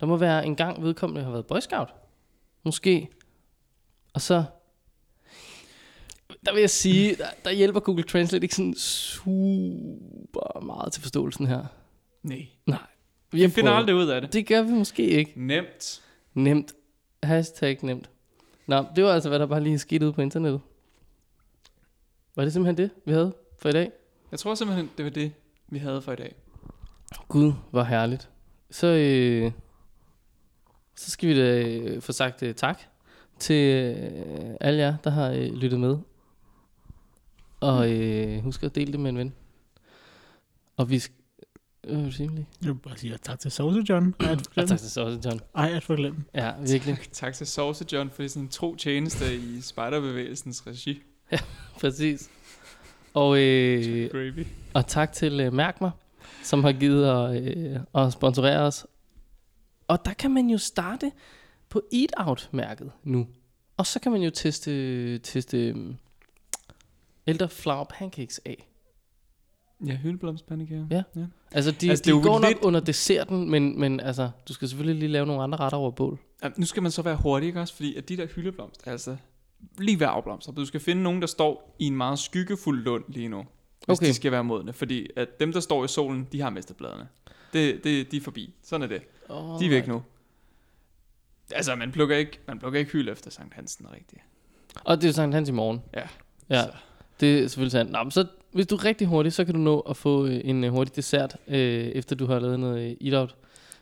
Der må være en gang vedkommende har været boy scout. Måske. Og så der vil jeg sige, der, der hjælper Google Translate ikke sådan super meget til forståelsen her.
Nej.
Nej.
Vi finder
prøver.
aldrig ud af det.
Det gør vi måske ikke.
Nemt.
Nemt. Hashtag nemt. Nå, det var altså, hvad der bare lige skete ude på internettet. Var det simpelthen det, vi havde for i dag?
Jeg tror simpelthen, det var det, vi havde for i dag.
Gud, hvor herligt. Så, øh, så skal vi da øh, få sagt øh, tak til øh, alle jer, der har øh, lyttet med. Og øh, husk at dele det med en ven. Og vi skal... Øh, hvad vil du sige, Emilie?
Jeg vil bare sige, at tak til Sauce John. Ej, at
ah,
forglemme.
tak til Sauce John.
Ej, at forglemme.
Ja, virkelig.
Tak til Sauce John for sådan tro tjeneste i spejderbevægelsens regi.
Præcis. Og, øh,
Gravy.
og tak til øh, Mærk mig, som har givet at, øh, at sponsorere os. Og der kan man jo starte på Eat-Out-mærket nu. Og så kan man jo teste, teste øh, elderflower pancakes af.
Ja, hyldeblomstpandekager.
Ja.
ja.
Altså, de,
Altså,
altså,
det er
de
jo
går nok
lidt-
under desserten, men, men altså, du skal selvfølgelig lige lave nogle andre retter over bål.
Jamen, nu skal man så være hurtig, ikke også? Fordi at de der hyldeblomster, altså lige ved afblomster. Du skal finde nogen, der står i en meget skyggefuld lund lige nu. Hvis
Okay.
de skal være modne. Fordi at dem, der står i solen, de har mistet bladene. Det, det, de er forbi. Sådan er det.
Oh,
De er væk nu. Altså, man plukker ikke, man plukker ikke hylde efter Sankt Hansen rigtigt.
Og det er jo Sankt Hans i morgen.
Ja.
Ja,
Så.
det er selvfølgelig sandt. Nå, men så, hvis du er rigtig hurtig, så kan du nå at få øh, en øh, hurtig dessert, øh, efter du har lavet noget øh, eat-out.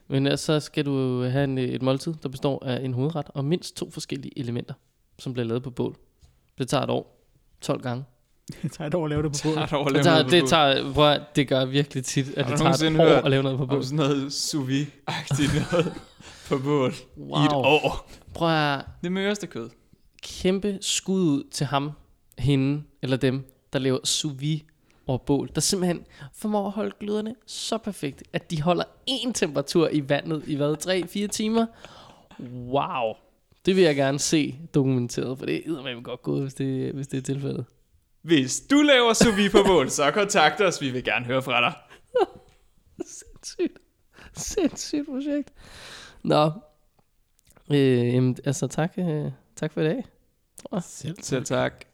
Men ellers så skal du øh, have en, øh, et måltid, der består af en hovedret og mindst to forskellige elementer, som bliver lavet på bål. Det tager et år. 12 gange.
Jeg tager et år at lave det på
Har
bordet.
du
Det
overlevet
tager,
noget på
det,
bål?
tager, prøv, at- det gør virkelig tit, at
du
det tager et
nogensinde hørt
år at lave noget på
Om
bål.
sådan noget sous vide-agtigt noget på bål i
Wow.
et år.
Prøv at
Det møreste kød.
kæmpe skud ud til ham, hende eller dem, der laver sous vide over bål, der simpelthen formår at holde gløderne så perfekt, at de holder én temperatur i vandet i hvad, 3-4 timer? Wow. Det vil jeg gerne se dokumenteret, for det er eddermame godt gået, hvis det, hvis det er tilfældet.
Hvis du laver sous vide på bål, så kontakt os. Vi vil gerne høre fra dig.
Sindssygt. Sindssygt projekt. Nå. Øh, jamen, altså tak, øh, tak for i dag.
Selv.
Selv tak.